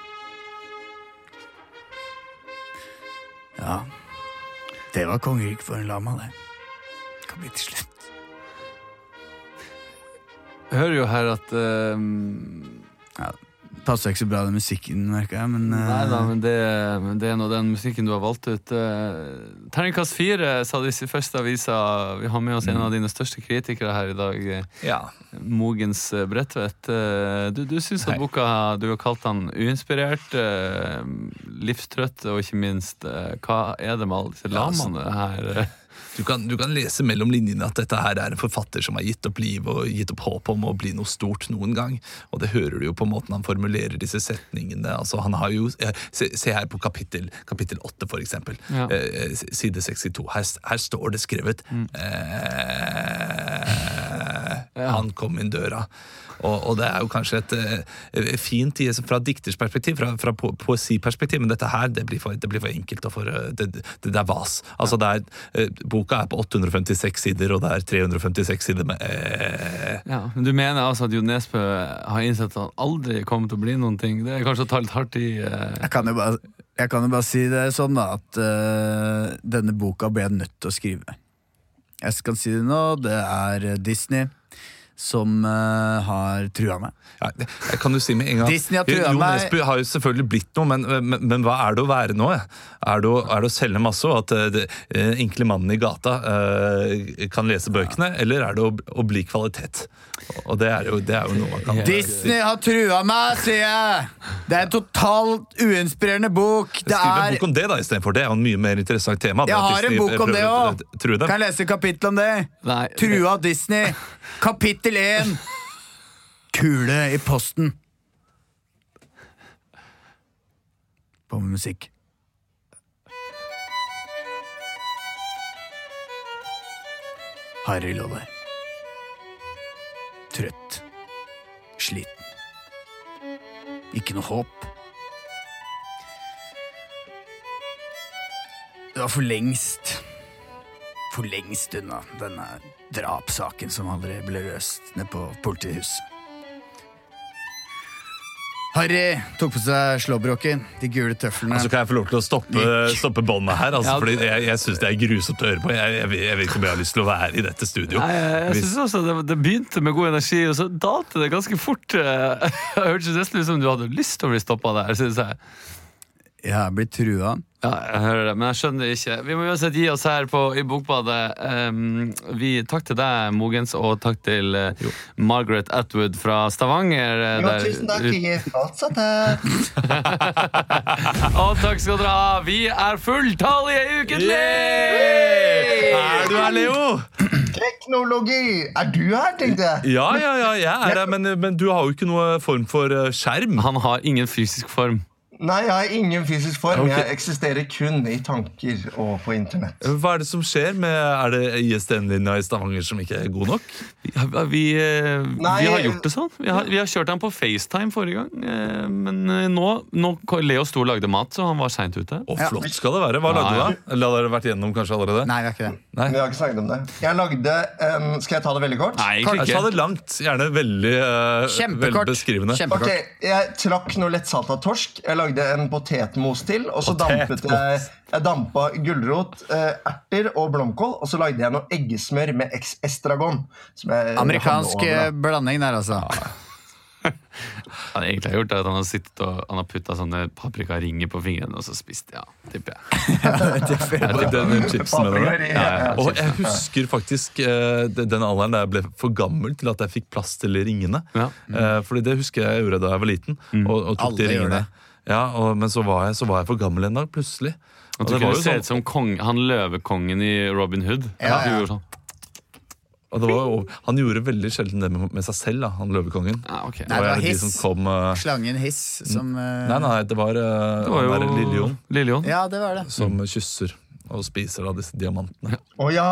Speaker 2: Ja, det var kongerik for en lama, det. Kan bli til slutt.
Speaker 1: Jeg hører jo her at eh,
Speaker 2: ja, Passer ikke så bra den musikken, merker jeg, men eh,
Speaker 1: Nei da, men det, men det er nå den musikken du har valgt ut. eh, Terningkast fire, sa disse første avisa. Vi har med oss en av dine største kritikere her i dag. eh, Mogens eh, Bredtvedt. Eh, Du, du syns at boka Du har kalt han uinspirert, eh, livstrøtt og ikke minst eh, Hva er det med alle disse lamaene her?
Speaker 9: Du kan, du kan lese mellom linjene at dette her er en forfatter som har gitt opp livet og gitt opp håp om å bli noe stort noen gang. Og det hører du jo på måten han formulerer disse setningene. Altså, han har jo, eh, se, se her på kapittel, kapittel 8, for eksempel.
Speaker 1: Ja.
Speaker 9: Eh, s- side 62. Her, s- her står det skrevet eh, Han kom inn døra. Og, og det er jo kanskje et eh, fint i, fra dikters perspektiv, fra, fra po poesiperspektiv, men dette her det blir for, det blir for enkelt. Og for, eh, det, det, det er vas. Altså, det er, eh, boka er på 856 sider, og det er 356 sider med eh,
Speaker 1: Ja, men Du mener altså at Jo Nesbø har innsett at han aldri kommer til å bli noen ting? Det er kanskje å ta litt hardt i eh,
Speaker 2: Jeg kan jo bare, jeg kan jo bare si det sånn da At eh, denne boka ble jeg nødt til å skrive Jeg kan si det nå Det er eh, Disney Som eh, har trua meg
Speaker 9: Jeg kan jo si med en gang
Speaker 2: Disney har
Speaker 9: Jo
Speaker 2: trua
Speaker 9: Jo
Speaker 2: meg
Speaker 9: Nesbø har jo selvfølgelig blitt noe, men, men, men hva er det å være nå? Er det å, er det å selge masse, og at eh, det- eh, enkle mannen i gata eh, kan lese bøkene? Eller er det å, å bli kvalitet? Og det er jo, det er jo noe man kan
Speaker 2: Disney har trua meg, sier jeg Det er en totalt uinspirerende bok Det
Speaker 9: Skriv en
Speaker 2: er
Speaker 9: bok om det, da, istedenfor. Det er jo en mye mer interessant tema.
Speaker 2: Jeg har en bok om det òg! Kan jeg
Speaker 9: òg!
Speaker 2: lese kapittel om det?
Speaker 1: Nei,
Speaker 2: Trua Disney. Kapittel én. Kule i posten. På med musikk. Harry lå der. Trøtt. Sliten. Ikke noe håp. Det var for lengst For lengst unna denne drapssaken som aldri ble løst nede på politihuset. Harry tok på seg slåbroken, de gule tøflene.
Speaker 9: Altså, kan jeg få lov til å stoppe, stoppe båndet her? Altså, fordi jeg, jeg syns det er grusomt å høre på. Jeg, jeg, jeg vet ikke om jeg har lyst til å være i dette studio.
Speaker 1: Nei, jeg, jeg
Speaker 9: Hvis-
Speaker 1: synes også det, det begynte med god energi, og så dalte det ganske fort. eh. Det hørtes nesten ut som du hadde lyst til å bli stoppa der, synes jeg.
Speaker 2: Jeg er blitt trua.
Speaker 1: Ja, jeg hører det, men jeg skjønner det ikke. Vi må uansett gi oss her på, i Bokbadet. Ehm, vi, takk til deg, Mogens, og takk til eh, Margaret Atwood fra Stavanger. eh,
Speaker 8: Jo,
Speaker 1: der-
Speaker 8: tusen takk. Jeg er fortsatt her.
Speaker 1: og takk skal dere ha. Vi er fulltallige ukentlig!
Speaker 9: Er du her, Leo?
Speaker 8: Teknologi! Er du her, tenkte jeg?
Speaker 9: Ja, ja, ja, jeg er her, men, men du har jo ikke noe form for eh, skjerm.
Speaker 1: Han har ingen fysisk form.
Speaker 8: Nei, jeg har ingen fysisk form.
Speaker 9: Ok.
Speaker 8: Jeg eksisterer kun i tanker og på internett.
Speaker 9: Hva er det som skjer med Er det ISDN-linja i Stavanger som ikke er god nok?
Speaker 1: Vi, eh, Vi har gjort det sånn. Vi har, vi har kjørt han på FaceTime forrige gang. eh, Men eh, nå, nå Leo sto og lagde mat, så han var seint ute.
Speaker 9: Og flott skal det være. Hva lagde
Speaker 1: Ja, ja.
Speaker 9: du da? Eller har dere vært igjennom kanskje allerede?
Speaker 10: Nei, vi har ikke det.
Speaker 8: Vi har ikke snakket om det. Jeg lagde em, Skal jeg ta det veldig kort?
Speaker 9: Ta det langt. Gjerne veldig eh,
Speaker 8: Kjempekort.
Speaker 9: velbeskrivende.
Speaker 8: Ok, Jeg trakk noe lettsalta torsk. Jeg lagde en potetmos til. Og så dampet jeg, jeg dampa gulrot, eh, erter og blomkål. Og så lagde jeg noe eggesmør med ex- estragon. som jeg-
Speaker 10: Amerikansk eh,
Speaker 8: hadde over,
Speaker 10: blanding der, altså.
Speaker 1: Han egentlig har gjort er at han har sittet og han har putta sånne paprikaringer på fingrene og så spist. Ja, tipper jeg.
Speaker 9: Ja,
Speaker 1: tipper
Speaker 9: den
Speaker 1: jeg.
Speaker 9: chipsen med det.
Speaker 1: Ja, ja, ja,
Speaker 9: Og jeg
Speaker 1: chipsen.
Speaker 9: husker faktisk eh, den den alderen da jeg ble for gammel til at jeg fikk plass til ringene. Eh, Fordi det husker jeg gjorde da jeg var liten. Og, og tok
Speaker 1: Alle
Speaker 9: de
Speaker 1: gjør
Speaker 9: ringene
Speaker 1: det.
Speaker 9: ja, og, Men så var, jeg, så var jeg for gammel en dag, plutselig. Og
Speaker 1: Han tror
Speaker 9: det
Speaker 1: ikke
Speaker 9: var
Speaker 1: du
Speaker 9: jo
Speaker 1: ser
Speaker 9: sånn
Speaker 1: ut som kong, han løvekongen i Robin Hood.
Speaker 9: Ja,
Speaker 1: Du
Speaker 9: ja.
Speaker 1: gjorde sånn.
Speaker 9: og det var, jo- han gjorde veldig sjelden det med, med seg selv, da, han løvekongen. Det
Speaker 10: Nei,
Speaker 9: var,
Speaker 10: det var
Speaker 9: de
Speaker 10: hiss.
Speaker 9: som kom eh,
Speaker 10: Slangen Hiss som eh,
Speaker 9: Nei, nei, det var, eh,
Speaker 10: Det var
Speaker 9: han
Speaker 10: jo
Speaker 9: der Lille Jon.
Speaker 10: Ja, det var det.
Speaker 9: Som kysser og spiser av disse diamantene.
Speaker 8: Å eh, ja,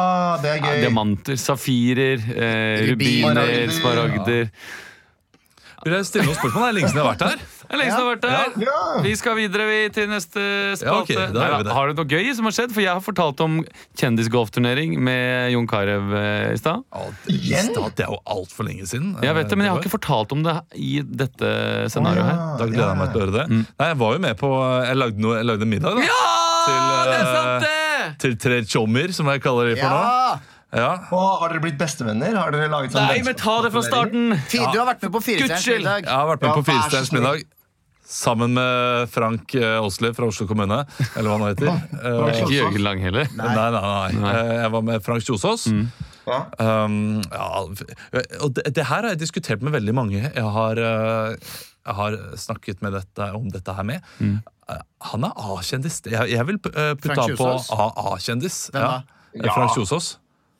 Speaker 8: det er
Speaker 1: Ja,
Speaker 8: gøy.
Speaker 1: diamanter, safirer, eh,
Speaker 9: Rubiner.
Speaker 1: rubiner, smaragder.
Speaker 9: Vil dere stille noen spørsmål? Det er lenge siden jeg har vært her.
Speaker 1: Det er lenge siden det har vært der. Vi skal videre vi, til neste
Speaker 9: Ja, ok,
Speaker 1: spalte.
Speaker 9: da gjør vi
Speaker 1: Neida,
Speaker 9: det.
Speaker 1: har det noe gøy som har skjedd? For jeg har fortalt om kjendisgolfturnering med Jon Carew eh, i stad.
Speaker 9: Igjen? Det er jo altfor lenge siden. Eh,
Speaker 1: Jeg vet det, men jeg har ikke fortalt om det i dette scenarioet her.
Speaker 9: Da gleder jeg meg til å høre det.
Speaker 1: Mm.
Speaker 9: Nei, jeg var jo med på eh, Jeg lagde, noe, jeg lagde middag, da. til,
Speaker 1: det er sant
Speaker 9: eh, Til tre tjommer, som jeg kaller de for
Speaker 10: Ja!
Speaker 9: nå. Ja.
Speaker 8: Og har dere blitt bestevenner? Har dere laget sånn
Speaker 9: Nei, men ta det fra starten.
Speaker 10: Fy, Du har vært med på Firestjerners
Speaker 9: Gudskjelov.
Speaker 10: middag.
Speaker 9: Jeg har vært med
Speaker 10: Ja,
Speaker 9: på
Speaker 10: vær så
Speaker 9: Firestjerners
Speaker 10: snill.
Speaker 9: middag. Sammen med Frank eh, Åsli fra Oslo kommune, eller hva han heter.
Speaker 1: var
Speaker 9: Eh,
Speaker 1: ikke Jørgen Lang heller.
Speaker 9: Nei, nei, nei. Mm. Eh, Jeg var med Frank Kjosås. Um, ja, og det, det her har jeg diskutert med veldig mange. Jeg har, eh, jeg har snakket med dette, om dette her med. Eh, Han er A-kjendis. Jeg, jeg vil eh, putte
Speaker 10: Frank
Speaker 9: han på
Speaker 10: Kjosås?
Speaker 9: A-kjendis.
Speaker 10: Hvem da?
Speaker 9: Eh, Frank Kjosås.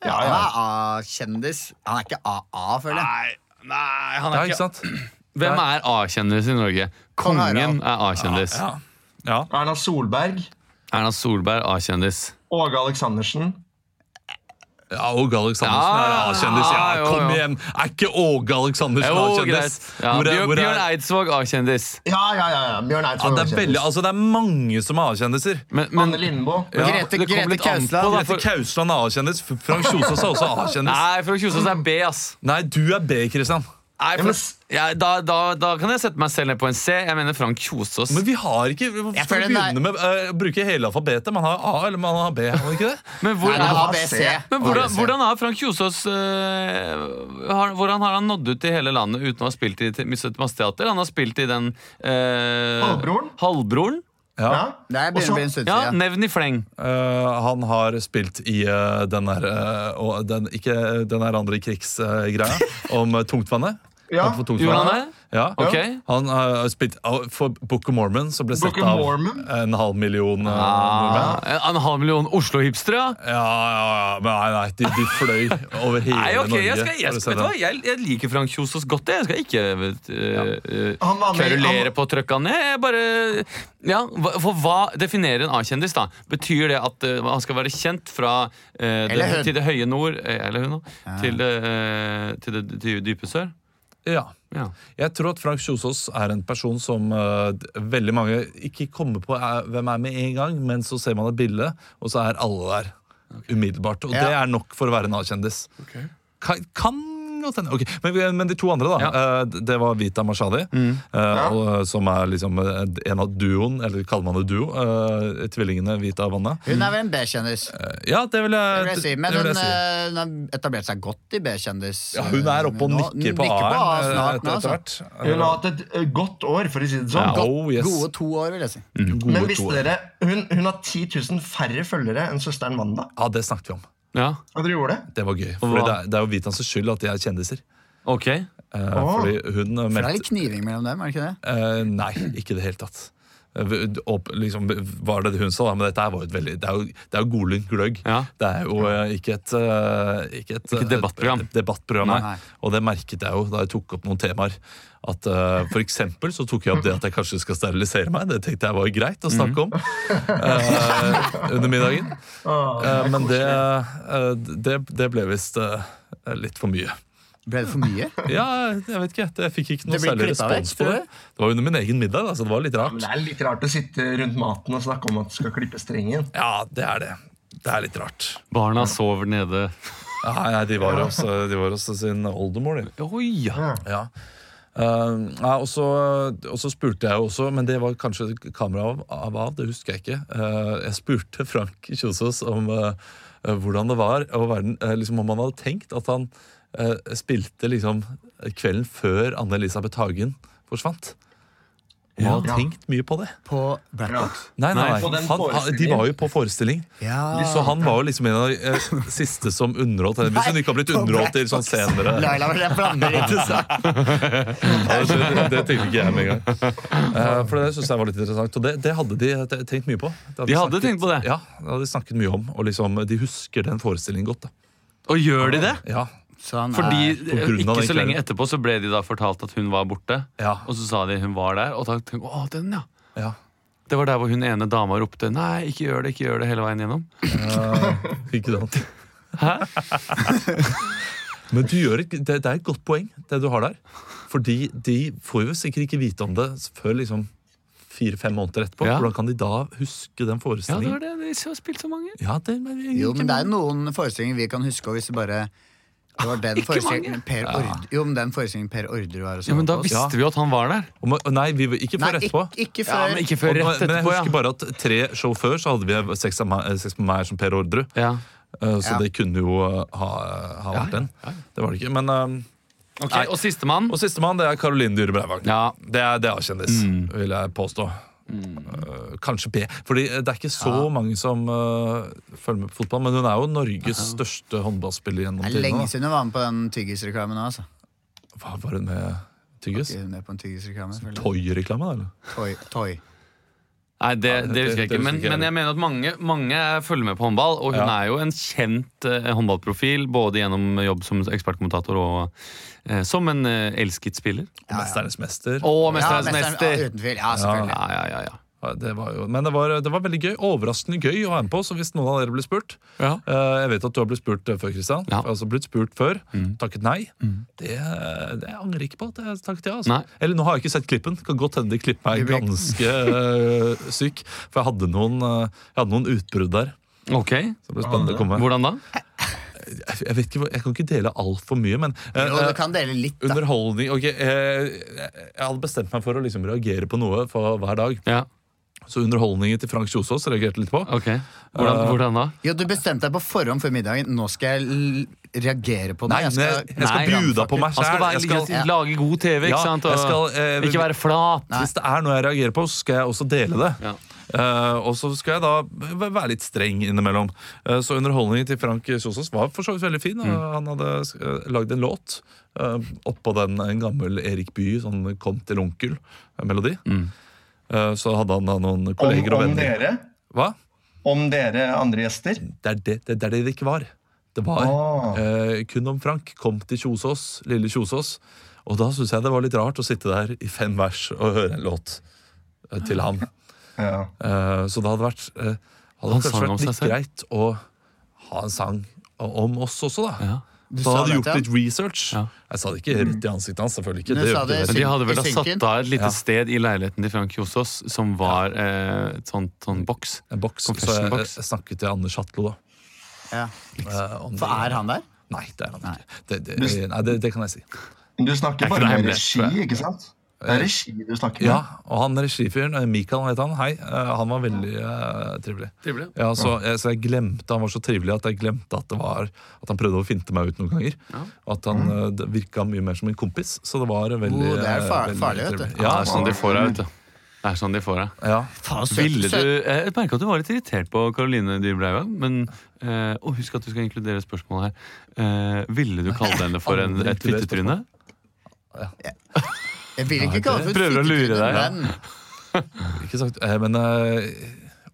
Speaker 10: Ja, han er A-kjendis. Han er ikke AA, føler jeg.
Speaker 1: Nei,
Speaker 9: han er Ja, ikke- ikke sant?
Speaker 1: Hvem er A-kjendis i Norge? Kongen er A-kjendis.
Speaker 9: Ja, ja.
Speaker 8: Erna Solberg.
Speaker 1: Erna Solberg A-kjendis.
Speaker 8: Åge Aleksandersen.
Speaker 9: Ja, Åge Aleksandersen
Speaker 1: Ja,
Speaker 9: er A-kjendis.
Speaker 1: ja,
Speaker 9: Ja,
Speaker 1: jo,
Speaker 9: kom
Speaker 1: jo.
Speaker 9: igjen! Er ikke Åge Aleksandersen
Speaker 1: Jo,
Speaker 9: A-kjendis?
Speaker 1: greit. Ja,
Speaker 9: Hvor er-
Speaker 1: Bjørn,
Speaker 9: hvor er-
Speaker 1: Bjørn Eidsvåg A-kjendis.
Speaker 8: Ja, ja, ja. ja. Bjørn
Speaker 9: Ja,
Speaker 8: Eidsvåg.
Speaker 9: det, er veldig, altså, det er mange som er A-kjendisser.
Speaker 8: Anne Lindboe.
Speaker 9: Ja,
Speaker 10: Grete-
Speaker 9: det kommer
Speaker 10: Grete
Speaker 9: litt an på,
Speaker 10: Kausland.
Speaker 9: da, for- Grete Kausland er A-kjendis. F- Frank Kjosås er også A-kjendis.
Speaker 1: Nei, Frank Kjosås er B, ass.
Speaker 9: Nei, du er B, Kristian.
Speaker 1: Nei, for, ja, da, da, da kan jeg sette meg selv ned på en C. Jeg mener Frank Kjosås.
Speaker 9: Men vi har ikke Hvorfor
Speaker 1: Jeg
Speaker 9: skal vi
Speaker 1: føler den er-
Speaker 9: begynne med eh, å bruke hele alfabetet? Man har A eller man har B. Har man ikke det?
Speaker 1: Men, hvor,
Speaker 9: Nei,
Speaker 1: er-
Speaker 9: man har B, C.
Speaker 1: men
Speaker 9: Og
Speaker 1: hvordan,
Speaker 9: C.
Speaker 1: hvordan har Frank Kjosås eh, har, Hvordan har han nådd ut i hele landet uten å ha spilt i te- Midtstøttemanns teater? Han har spilt i den eh,
Speaker 9: Halvbroren.
Speaker 1: Halvbroren.
Speaker 9: Ja.
Speaker 10: Det er begynner å bli en stund
Speaker 1: ja,
Speaker 10: siden.
Speaker 1: Nevn i fleng.
Speaker 9: Eh, han har spilt i eh, den der eh, og den, Ikke den der andre krigsgreia om eh, tungtvannet.
Speaker 8: Ja.
Speaker 9: Kamp for
Speaker 8: Gjorde han
Speaker 9: tungtvannet.
Speaker 8: det?
Speaker 9: Ja.
Speaker 8: Ok.
Speaker 9: Han eh, har spilt av- for Book of Mormon, som ble
Speaker 8: Book
Speaker 9: sett
Speaker 8: of
Speaker 9: av
Speaker 8: Mormon?
Speaker 9: en halv million eh,
Speaker 1: Ah,
Speaker 9: nordmenn.
Speaker 1: en halv million Oslo-hipstere? Ja,
Speaker 9: ja, ja, men nei, nei, de, de fløy over hele
Speaker 1: Nei, ok,
Speaker 9: Norge.
Speaker 1: jeg, skal,
Speaker 9: for å
Speaker 1: jeg,
Speaker 9: se
Speaker 1: skal, vet du
Speaker 9: den.
Speaker 1: hva, jeg, jeg liker Frank Kjosås godt. Jeg Jeg skal ikke øh, øh,
Speaker 8: Han var med-
Speaker 1: kverulere
Speaker 8: han-
Speaker 1: på trøkka ned. Jeg bare ja, hva- For hva definerer en A-kjendis, da? Betyr det at øh, han skal være kjent fra øh, det,
Speaker 9: Eller hun.
Speaker 1: til det høye nord eh, Eller hun, da. Til, det, øh, til det dy- dype sør?
Speaker 9: Ja.
Speaker 1: Ja.
Speaker 9: Jeg tror at Frank Kjosås er en person som eh, d- veldig mange ikke kommer på er, hvem er med en gang, men så ser man et bilde, og så er alle der umiddelbart. Og
Speaker 10: Ja.
Speaker 9: det er nok for å være en A-kjendis. Kan, kan godt hende. Ok, men, vi- men de to andre, da. eh, d- det var Vita Mashadi, eh, og, som er liksom eh, en av duoen, eller kaller man det duo, eh, tvillingene Vita og Vanna.
Speaker 10: Hun er vel en B-kjendis.
Speaker 9: Ja, det vil jeg,
Speaker 10: Det vil jeg si. Men
Speaker 9: det vil
Speaker 10: hun,
Speaker 9: jeg si.
Speaker 10: eh, hun har etablert seg godt i B-kjendis. eh,
Speaker 9: Ja, hun er oppe og
Speaker 10: Nå-
Speaker 9: nikker på
Speaker 10: nikker på
Speaker 9: A-en,
Speaker 10: A snart
Speaker 9: eh,
Speaker 10: nå,
Speaker 9: etter
Speaker 10: altså.
Speaker 9: hvert.
Speaker 8: Hun har hatt et ø, godt år, for å si det sånn.
Speaker 9: Ja, oh, yes.
Speaker 10: Gode to år, vil jeg si.
Speaker 9: Gode
Speaker 8: Men visste
Speaker 9: toer.
Speaker 8: dere, hun, hun har 10 000 færre følgere enn søsteren Wanda.
Speaker 9: Ja, det snakket vi om.
Speaker 1: Ja.
Speaker 8: Og dere gjorde det?
Speaker 9: Det var gøy. For
Speaker 8: Hva?
Speaker 9: det, er, det er jo Vitans skyld at de er kjendiser.
Speaker 1: Ok
Speaker 9: Eh, Fordi hun
Speaker 10: For det er
Speaker 9: meldte
Speaker 10: litt kniving mellom dem, er det ikke det?
Speaker 9: eh, Nei, ikke i det hele tatt. opp, liksom, var det det hun sa, da, men dette her var jo et veldig Det er jo, det er jo godlynt gløgg. Det er jo eh, ikke et, eh, ikke et,
Speaker 1: Ikke et debattprogram.
Speaker 9: et debattprogram, nei.
Speaker 1: Nei.
Speaker 9: Og det merket jeg jo da jeg tok opp noen temaer. At eh, For eksempel så tok jeg opp det at jeg kanskje skal sterilisere meg. Det tenkte jeg var greit å snakke om eh, under middagen.
Speaker 8: Åh,
Speaker 9: Eh,
Speaker 8: det er
Speaker 9: men det,
Speaker 8: koselig.
Speaker 9: eh, det, det ble visst eh, litt for mye.
Speaker 10: Ble det for mye?
Speaker 9: Ja, jeg vet ikke. Jeg fikk ikke noe
Speaker 10: Det blir
Speaker 9: særlig
Speaker 10: klippet
Speaker 9: respons
Speaker 10: vekk,
Speaker 9: på
Speaker 10: tror
Speaker 9: det.
Speaker 10: jeg.
Speaker 9: Det var under min egen middag, da, så det var litt rart.
Speaker 8: Men det er litt rart å sitte rundt maten og snakke om at du skal klippe strengen.
Speaker 9: Ja, det er det. Det er litt rart.
Speaker 1: Barna sover nede.
Speaker 9: Nei, nei, de var hos,
Speaker 1: altså.
Speaker 9: de var hos sin oldemor, de.
Speaker 1: ja.
Speaker 9: Ja. Eh, nei, og, så, og så spurte jeg jo også, men det var kanskje kameraet av, av, av, det husker jeg ikke. Eh, jeg spurte Frank Kjosås om eh, eh, hvordan det var, å være den- eh, liksom, om han hadde tenkt at han eh, spilte liksom kvelden før Anne-Elisabeth Hagen forsvant. Han
Speaker 10: Ja.
Speaker 9: hadde tenkt mye på det.
Speaker 10: På Black Box?
Speaker 9: Nei, nei, nei. Han, han, de var jo på forestilling.
Speaker 10: Ja.
Speaker 9: Så han var jo liksom en av de eh, siste som underholdt henne. Hvis hun ikke har blitt underholdt til sånn senere.
Speaker 10: Laila, men jeg blander ikke så.
Speaker 9: Ja, det, det, det tenkte ikke jeg med en gang. Eh, for det synes jeg var litt interessant. Og det, det hadde de te- tenkt mye på.
Speaker 1: De hadde
Speaker 9: snakket, tenkt på det? Ja, det hadde de snakket mye om. Og liksom, de husker den forestillingen godt. Da.
Speaker 1: Og gjør de det?
Speaker 9: Ja.
Speaker 1: Fordi
Speaker 9: På grunn av
Speaker 1: eh, Ikke
Speaker 9: den
Speaker 1: så lenge
Speaker 9: kvelden.
Speaker 1: etterpå så ble de da fortalt at hun var borte. Og så sa de hun var der, og da tenkte jeg, å, den ja.
Speaker 9: Ja.
Speaker 1: Det var der hvor hun ene dama ropte 'nei, ikke gjør det', ikke gjør det hele veien gjennom.
Speaker 9: Eh, ikke sant? Men du gjør et, det, det er et godt poeng, det du har der. Fordi de får jo sikkert ikke vite om det før liksom fire-fem måneder etterpå.
Speaker 1: Ja.
Speaker 9: Hvordan kan de da huske den
Speaker 1: Ja, det
Speaker 9: forestillingen?
Speaker 1: var det. De har spilt så mange.
Speaker 9: Ja, det,
Speaker 10: Jo, men det er noen forestillinger vi kan huske, og hvis vi bare det var den
Speaker 1: Ikke
Speaker 10: forestillingen
Speaker 1: mange.
Speaker 10: per,
Speaker 1: Ja.
Speaker 10: Ord, jo, men den forestillingen per Orderud var og
Speaker 1: Ja, men da
Speaker 10: på oss.
Speaker 1: visste vi jo at han var der.
Speaker 9: Nei, vi, ikke før
Speaker 10: Nei, ik-
Speaker 9: etterpå.
Speaker 10: ikke før- Ja, men ikke
Speaker 1: før
Speaker 9: Og-
Speaker 1: rett
Speaker 9: Men jeg
Speaker 1: etterpå, ja.
Speaker 9: husker bare at tre show før så hadde vi Sex med meg, sex med meg som Per Orderud. Eh, Så
Speaker 1: Ja.
Speaker 9: det kunne jo eh, ha, ha vært den. Det var det ikke. Men eh,
Speaker 1: Ok,
Speaker 9: nei.
Speaker 1: Og sistemann?
Speaker 9: Og sistemann det er Caroline Dyhre Breivang. Det er, det er kjendis,
Speaker 1: Mm.
Speaker 9: vil jeg påstå. Eh, kanskje P. Fordi eh, det er ikke så mange som eh, følger med på fotball, men hun er jo Norges største håndballspiller gjennom
Speaker 10: Det er
Speaker 9: tidene.
Speaker 10: lenge
Speaker 9: da.
Speaker 10: siden hun var med på den tyggisreklamen nå, altså.
Speaker 9: Hva var hun med tyggis?
Speaker 10: Hun er på en tyggisreklame. selvfølgelig.
Speaker 9: Toy-reklame, da? eller?
Speaker 10: Toy. Toy.
Speaker 1: Nei, det, det
Speaker 9: det-
Speaker 1: husker jeg
Speaker 9: det
Speaker 1: ikke.
Speaker 9: husker
Speaker 1: Men,
Speaker 9: ikke jeg
Speaker 1: men jeg mener at mange, mange eh, følger med på håndball, og hun
Speaker 9: Ja.
Speaker 1: er jo en kjent eh, håndballprofil, både gjennom jobb som ekspertkommentator og eh, som en eh, elsket spiller.
Speaker 9: Og Mesternes mester.
Speaker 1: Og mesternes
Speaker 10: Ja, mesteren-
Speaker 1: mester!
Speaker 10: ja, uten tvil. Ja, selvfølgelig.
Speaker 1: Ja, ja, ja, ja.
Speaker 9: Ja, Det var jo, men det var, det var veldig gøy. Overraskende gøy å være med på. Så hvis noen av dere ble spurt eh, Jeg vet at du har blitt spurt eh, før, Kristian. Altså blitt spurt før, takket nei. Det, det angrer jeg ikke på at jeg takket ja. Altså.
Speaker 1: Nei.
Speaker 9: Eller nå har jeg ikke sett klippen. Kan godt hende de klipper meg
Speaker 1: Du blir-
Speaker 9: ganske eh, syk. For jeg hadde noen, eh, jeg hadde noen utbrudd der.
Speaker 1: Ok,
Speaker 9: Så det blir spennende å komme.
Speaker 1: Hvordan da?
Speaker 9: Jeg, jeg, vet ikke, hvor- jeg kan ikke dele altfor mye, men eh,
Speaker 10: Jo, du kan dele litt, da.
Speaker 9: Underholdning ok, eh, Jeg hadde bestemt meg for å liksom reagere på noe for hver dag. Så underholdningen til Frank Kjosås reagerte litt på.
Speaker 1: Hvordan,
Speaker 9: Eh,
Speaker 1: hvordan da?
Speaker 10: Jo, du bestemte deg på forhånd før middagen. Nå skal jeg l reagere på
Speaker 9: Nei,
Speaker 10: deg.
Speaker 9: jeg- jeg skal bjuda på meg
Speaker 1: Han skal,
Speaker 9: selv.
Speaker 1: være,
Speaker 9: Jeg skal-
Speaker 1: litt- lage god TV, ikke
Speaker 9: Ja,
Speaker 1: sant?
Speaker 9: jeg
Speaker 1: Og
Speaker 9: skal, eh,
Speaker 1: ikke være flat.
Speaker 9: Hvis det er noe jeg reagerer på, så skal jeg også dele det. Eh, og så skal jeg da v- være litt streng innimellom. Eh, så underholdningen til Frank Kjosås var for så vidt veldig fin. og Han hadde uh, lagd en låt eh, oppå den en gammel Erik Bye, sånn 'Kom til onkel'-melodi. Eh, så hadde han da noen
Speaker 8: Om,
Speaker 9: kolleger og
Speaker 8: om
Speaker 9: venner.
Speaker 8: dere?
Speaker 9: Hva?
Speaker 8: Om dere andre gjester?
Speaker 9: Det er det det, det, er det, det ikke var. Det var eh, kun om Frank kom til Kjosås, lille Kjosås. Og da syns jeg det var litt rart å sitte der i fem vers og høre en låt eh, til ham. Eh, så det hadde vært eh, hadde
Speaker 1: Han
Speaker 9: kanskje
Speaker 1: sang om
Speaker 9: vært
Speaker 1: seg
Speaker 9: litt
Speaker 1: selv.
Speaker 9: greit å ha en sang o- om oss også, da.
Speaker 10: Du
Speaker 9: Så
Speaker 10: sa
Speaker 9: hadde jeg
Speaker 10: det
Speaker 9: gjort
Speaker 10: til
Speaker 9: litt research. Jeg sa det ikke rett i ansiktet hans, selvfølgelig ikke.
Speaker 10: Men du sa
Speaker 9: gjorde
Speaker 10: det
Speaker 9: jeg
Speaker 1: Men
Speaker 9: ikke.
Speaker 1: de hadde vel da satt av et lite
Speaker 9: Ja.
Speaker 1: sted i leiligheten til Frank Kjosås som var eh, et sånt, sånn boks.
Speaker 9: En boks. Så eh, jeg,
Speaker 1: Confession-boks.
Speaker 9: jeg snakket til Anders Hatlo, da. eh, om
Speaker 10: For
Speaker 9: det.
Speaker 10: er han der?
Speaker 9: Nei, det er han ikke. Det, det, nei, det, det kan jeg si.
Speaker 8: Du snakker
Speaker 9: Det er ikke noe
Speaker 8: bare med regi,
Speaker 9: hemmelig, tror jeg.
Speaker 8: ikke sant? Det er regi du snakker
Speaker 9: Ja,
Speaker 8: med.
Speaker 9: og han regifyren, eh, Mikael het han, hei, eh, han var veldig eh, trivelig.
Speaker 1: Trivelig,
Speaker 9: ja. så, jeg, så jeg glemte, han var så trivelig at jeg glemte at det var At han prøvde å finte meg ut noen ganger. Og at han eh, det virka mye mer som en kompis, så det var veldig
Speaker 10: Oh, det er far-
Speaker 9: eh, veldig
Speaker 10: farlig, vet du.
Speaker 9: trivelig.
Speaker 1: Ja, det er sånn de får deg, vet du. Det er sånn de får deg.
Speaker 9: Ja.
Speaker 10: søt-
Speaker 1: Ville du, eh,
Speaker 10: søt-
Speaker 1: jeg merka at du var litt irritert på Karoline Dyhr Breivang, men eh, og husk at du skal inkludere spørsmålet her. Eh, ville du kalle henne for en, et fittetryne?
Speaker 10: Jeg vil
Speaker 1: Nei,
Speaker 10: ikke kalle
Speaker 1: det-
Speaker 10: det
Speaker 1: prøver å lure
Speaker 10: fittetryne,
Speaker 1: deg, ja.
Speaker 10: men
Speaker 9: Ikke sagt, eh, men eh,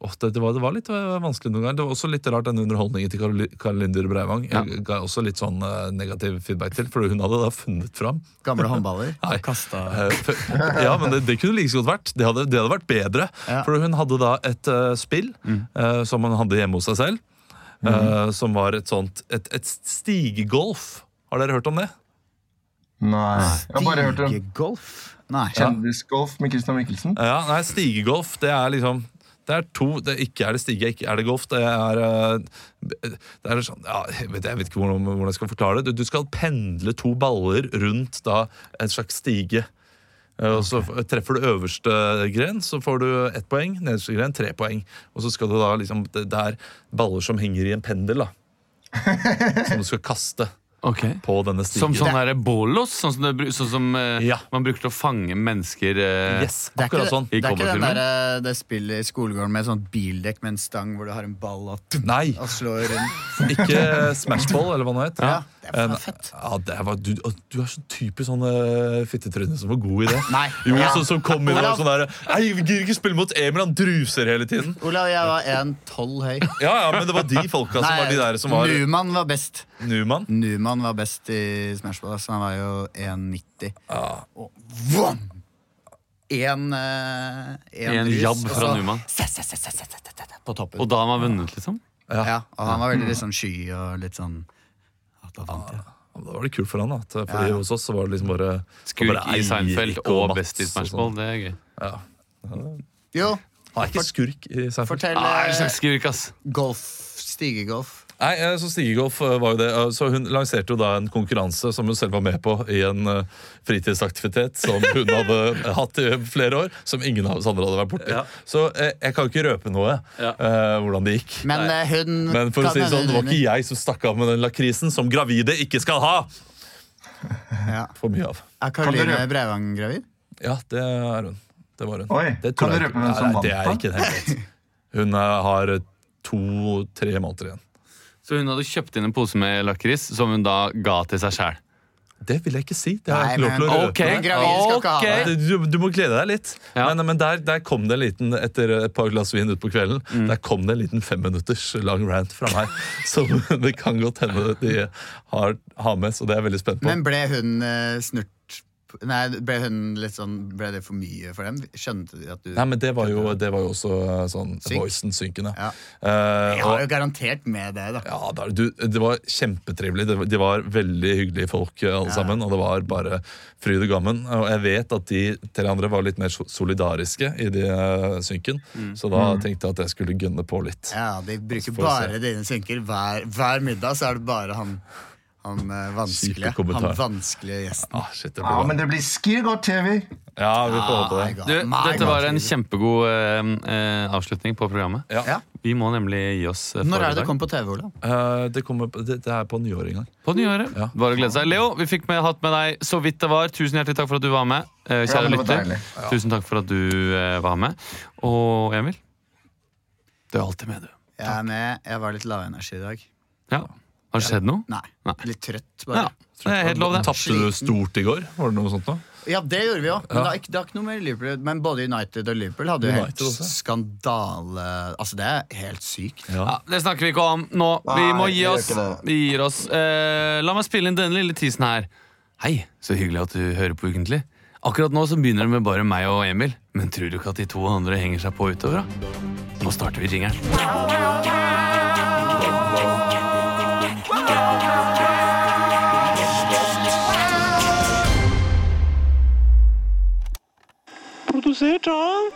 Speaker 9: åh, det, det, var, det var litt eh, vanskelig noen ganger. Det var også litt rart den underholdningen til Karoli- Karin Linder Breivang. Jeg ga også litt sånn eh, negativ feedback til, for hun hadde da funnet fram
Speaker 2: Gamle håndballer?
Speaker 9: Nei. Eh, f- Ja, men det, det kunne like så godt vært. Det hadde, det hadde vært bedre.
Speaker 2: Ja.
Speaker 9: For hun hadde da et eh, spill eh, som hun hadde hjemme hos seg selv, eh,
Speaker 2: Mhm.
Speaker 9: som var et sånt Et, et stigegolf. Har dere hørt om det?
Speaker 2: Nei.
Speaker 9: jeg har bare hørt om-
Speaker 2: Stigegolf? Nei.
Speaker 9: Kjendisgolf med Christian Mikkelsen? Ja, nei, stigegolf, det er liksom det er to, det er ikke er det stige, ikke er det golf. Det er, eh, det er sånn, ja, jeg, vet, jeg vet ikke hvordan, hvordan jeg skal forklare det. Du, du skal pendle to baller rundt da, en slags stige. Eh, Og så f- treffer du øverste gren, så får du ett poeng. Nederste gren, tre poeng. Og så skal du da liksom, det, det er baller som henger i en pendel, da. Som du skal kaste på denne stigen.
Speaker 1: Som sånn her bolos, sånn som, det, bru- sånn som eh, man bruker til å fange mennesker eh,
Speaker 2: Det er ikke,
Speaker 1: akkurat sånn.
Speaker 2: det, er ikke den
Speaker 1: cowboyfilmer.
Speaker 2: der, eh, det spillet i skolegården med sånn bildekk med en stang hvor du har en ball og,
Speaker 9: Nei.
Speaker 2: og slår rundt.
Speaker 9: Ikke Smashball, eller hva det het.
Speaker 2: Ja,
Speaker 9: det var fett. Ja, det var, du, å, du er sånn typisk sånn uh, fittetryne som var god i det.
Speaker 2: Nei.
Speaker 9: Jo,
Speaker 2: Ja.
Speaker 9: sånn som kom inn og var
Speaker 2: Olav.
Speaker 9: sånn der Nei, vi gidder ikke spille mot Emil, han druser hele tiden.
Speaker 2: Olav, jeg var 1,12 høy.
Speaker 9: Ja, ja, men det var de folka som
Speaker 2: Nei,
Speaker 9: var de der som var
Speaker 2: Numan var best.
Speaker 9: Numan?
Speaker 2: var best i Smash Bros. Han var jo 1,90. Og vom! En, eh, en,
Speaker 1: En altså.
Speaker 2: rus,
Speaker 1: jabb
Speaker 2: og
Speaker 1: fra
Speaker 2: så-
Speaker 1: Numan.
Speaker 2: Se, se, se, se, se, se, se, se, På toppen.
Speaker 1: Og da har man vunnet, liksom?
Speaker 2: Ja. og han var veldig litt sånn sky og litt sånn ja, Da vant jeg.
Speaker 9: Ja, Da var det kult for han, da. at- eh, Fordi
Speaker 2: Ja, ja.
Speaker 9: hos oss så var det liksom bare
Speaker 1: Skurk
Speaker 9: bare
Speaker 1: i
Speaker 9: Eirik
Speaker 1: Seinfeld og best
Speaker 9: Mats
Speaker 1: i
Speaker 9: og
Speaker 1: Smash Ball,
Speaker 9: sånn.
Speaker 1: det er gøy.
Speaker 9: Ja.
Speaker 2: Jo,
Speaker 9: Han er ikke skurk i Seinfeld.
Speaker 2: fortell
Speaker 1: Ah, en slags
Speaker 2: eh,
Speaker 1: skurk, ass.
Speaker 2: golf. Stigegolf.
Speaker 9: Nei, eh, så Stigegolf eh, var jo det. Eh, Så hun lanserte jo da en konkurranse som hun selv var med på i en eh, fritidsaktivitet som hun hadde eh, hatt i flere år, som ingen av oss andre hadde vært borti. Så eh, jeg kan ikke røpe noe eh, hvordan det gikk.
Speaker 2: Men eh, hun
Speaker 9: Men for å
Speaker 2: kan
Speaker 9: si det
Speaker 2: hende
Speaker 9: sånn, det var
Speaker 2: hun
Speaker 9: ikke jeg som stakk av med den lakrisen som gravide ikke skal ha!
Speaker 2: Ja.
Speaker 9: For mye av.
Speaker 2: Er Karoline Breivang gravid?
Speaker 9: Ja, det er hun. Det var hun.
Speaker 2: Oi,
Speaker 9: det
Speaker 2: kan
Speaker 9: tror
Speaker 2: du
Speaker 9: jeg ikke-
Speaker 2: røpe hvem som
Speaker 9: Nei,
Speaker 2: vant,
Speaker 9: Det er
Speaker 2: da?
Speaker 9: ikke det hele tatt. Hun eh, har to-tre måneder igjen.
Speaker 1: Så hun hadde kjøpt inn en pose med lakris, som hun da ga til seg sjæl.
Speaker 9: Det vil jeg ikke si. Det har jeg ikke
Speaker 1: Nei,
Speaker 9: lov til å
Speaker 1: men-
Speaker 9: røpe.
Speaker 1: Ok, Men gravide skal ikke ha
Speaker 9: Ok.
Speaker 1: det.
Speaker 9: Du, du må glede deg litt. Men, men der, der kom det en liten, etter et par glass vin utpå kvelden,
Speaker 2: Mm.
Speaker 9: der kom det en liten femminutters lang rant fra meg. Som det kan godt hende de har, har med, så det er jeg veldig spent på.
Speaker 2: Men ble hun eh, snurt Nei, ble hun litt sånn Ble det for mye for dem? Skjønte de at du
Speaker 9: Nei, men det var jo, det var jo også eh, sånn
Speaker 2: Synk.
Speaker 9: voicen synkende.
Speaker 2: Ja.
Speaker 9: Eh,
Speaker 2: Jeg
Speaker 9: og-
Speaker 2: har jo garantert med det, da.
Speaker 9: Ja, da, du, det var kjempetrivelig. Det, var- de var veldig hyggelige folk, eh, alle sammen. Og det var bare fryd og gammen. Og jeg vet at de tre andre var litt mer so- solidariske i de eh, synken. Så da
Speaker 2: Mm.
Speaker 9: tenkte jeg at jeg skulle gønne på litt.
Speaker 2: Ja, de bruker
Speaker 9: får vi
Speaker 2: bare
Speaker 9: se.
Speaker 2: dine synker. Hver, hver middag så er det bare han, han eh, vanskelige.
Speaker 9: Kjipe kommentar.
Speaker 2: Han vanskelige gjesten.
Speaker 9: Ah, shit, det
Speaker 8: Ja, men det blir skirgodt TV.
Speaker 9: Ja, vi får
Speaker 1: Ah,
Speaker 9: håpe
Speaker 1: Du,
Speaker 9: det.
Speaker 1: dette var en kjempegod eh, eh, avslutning på programmet. Vi må nemlig gi oss eh, for
Speaker 2: Når
Speaker 1: i
Speaker 2: er det
Speaker 1: dag.
Speaker 2: det kom på TV, Olav?
Speaker 9: Eh, det, kommer, på- det, det er på nyåret en gang.
Speaker 1: På nyåret. Bare å glede seg. Leo, vi fikk med hatt med deg så vidt det var. Tusen hjertelig takk for at du var med. Eh,
Speaker 9: Ja,
Speaker 1: Kjære
Speaker 9: men det var
Speaker 1: lytter,
Speaker 9: deilig. Ja.
Speaker 1: tusen takk for at du eh, var med. Og Emil, du er alltid med, du.
Speaker 2: Jeg er med. Jeg var litt lavenergi i dag.
Speaker 1: Ja. Har det skjedd noe?
Speaker 2: Nei. Litt trøtt,
Speaker 1: Ja,
Speaker 2: bare.
Speaker 1: det er helt lov, det.
Speaker 9: Tapte du stort i går? Var det noe sånt da?
Speaker 2: Ja, det gjorde vi òg. Men
Speaker 9: Ja.
Speaker 2: det, er ikke- det har ikke noe med Liverpool Men både United og Liverpool hadde jo helt
Speaker 1: United også.
Speaker 2: skandale Altså, det er helt sykt.
Speaker 1: Ja, det snakker vi ikke om nå. Vi
Speaker 2: Nei,
Speaker 1: må
Speaker 2: vi
Speaker 1: gi
Speaker 2: gjør
Speaker 1: oss.
Speaker 2: ikke
Speaker 1: Vi gir oss. Eh, la meg spille inn denne lille tisen her. Hei, så hyggelig at du hører på Ukentlig. Akkurat nå så begynner det med bare meg og Emil, men tror du ikke at de to andre henger seg på utover? da? Nå starter vi jingeren.
Speaker 11: Produsert av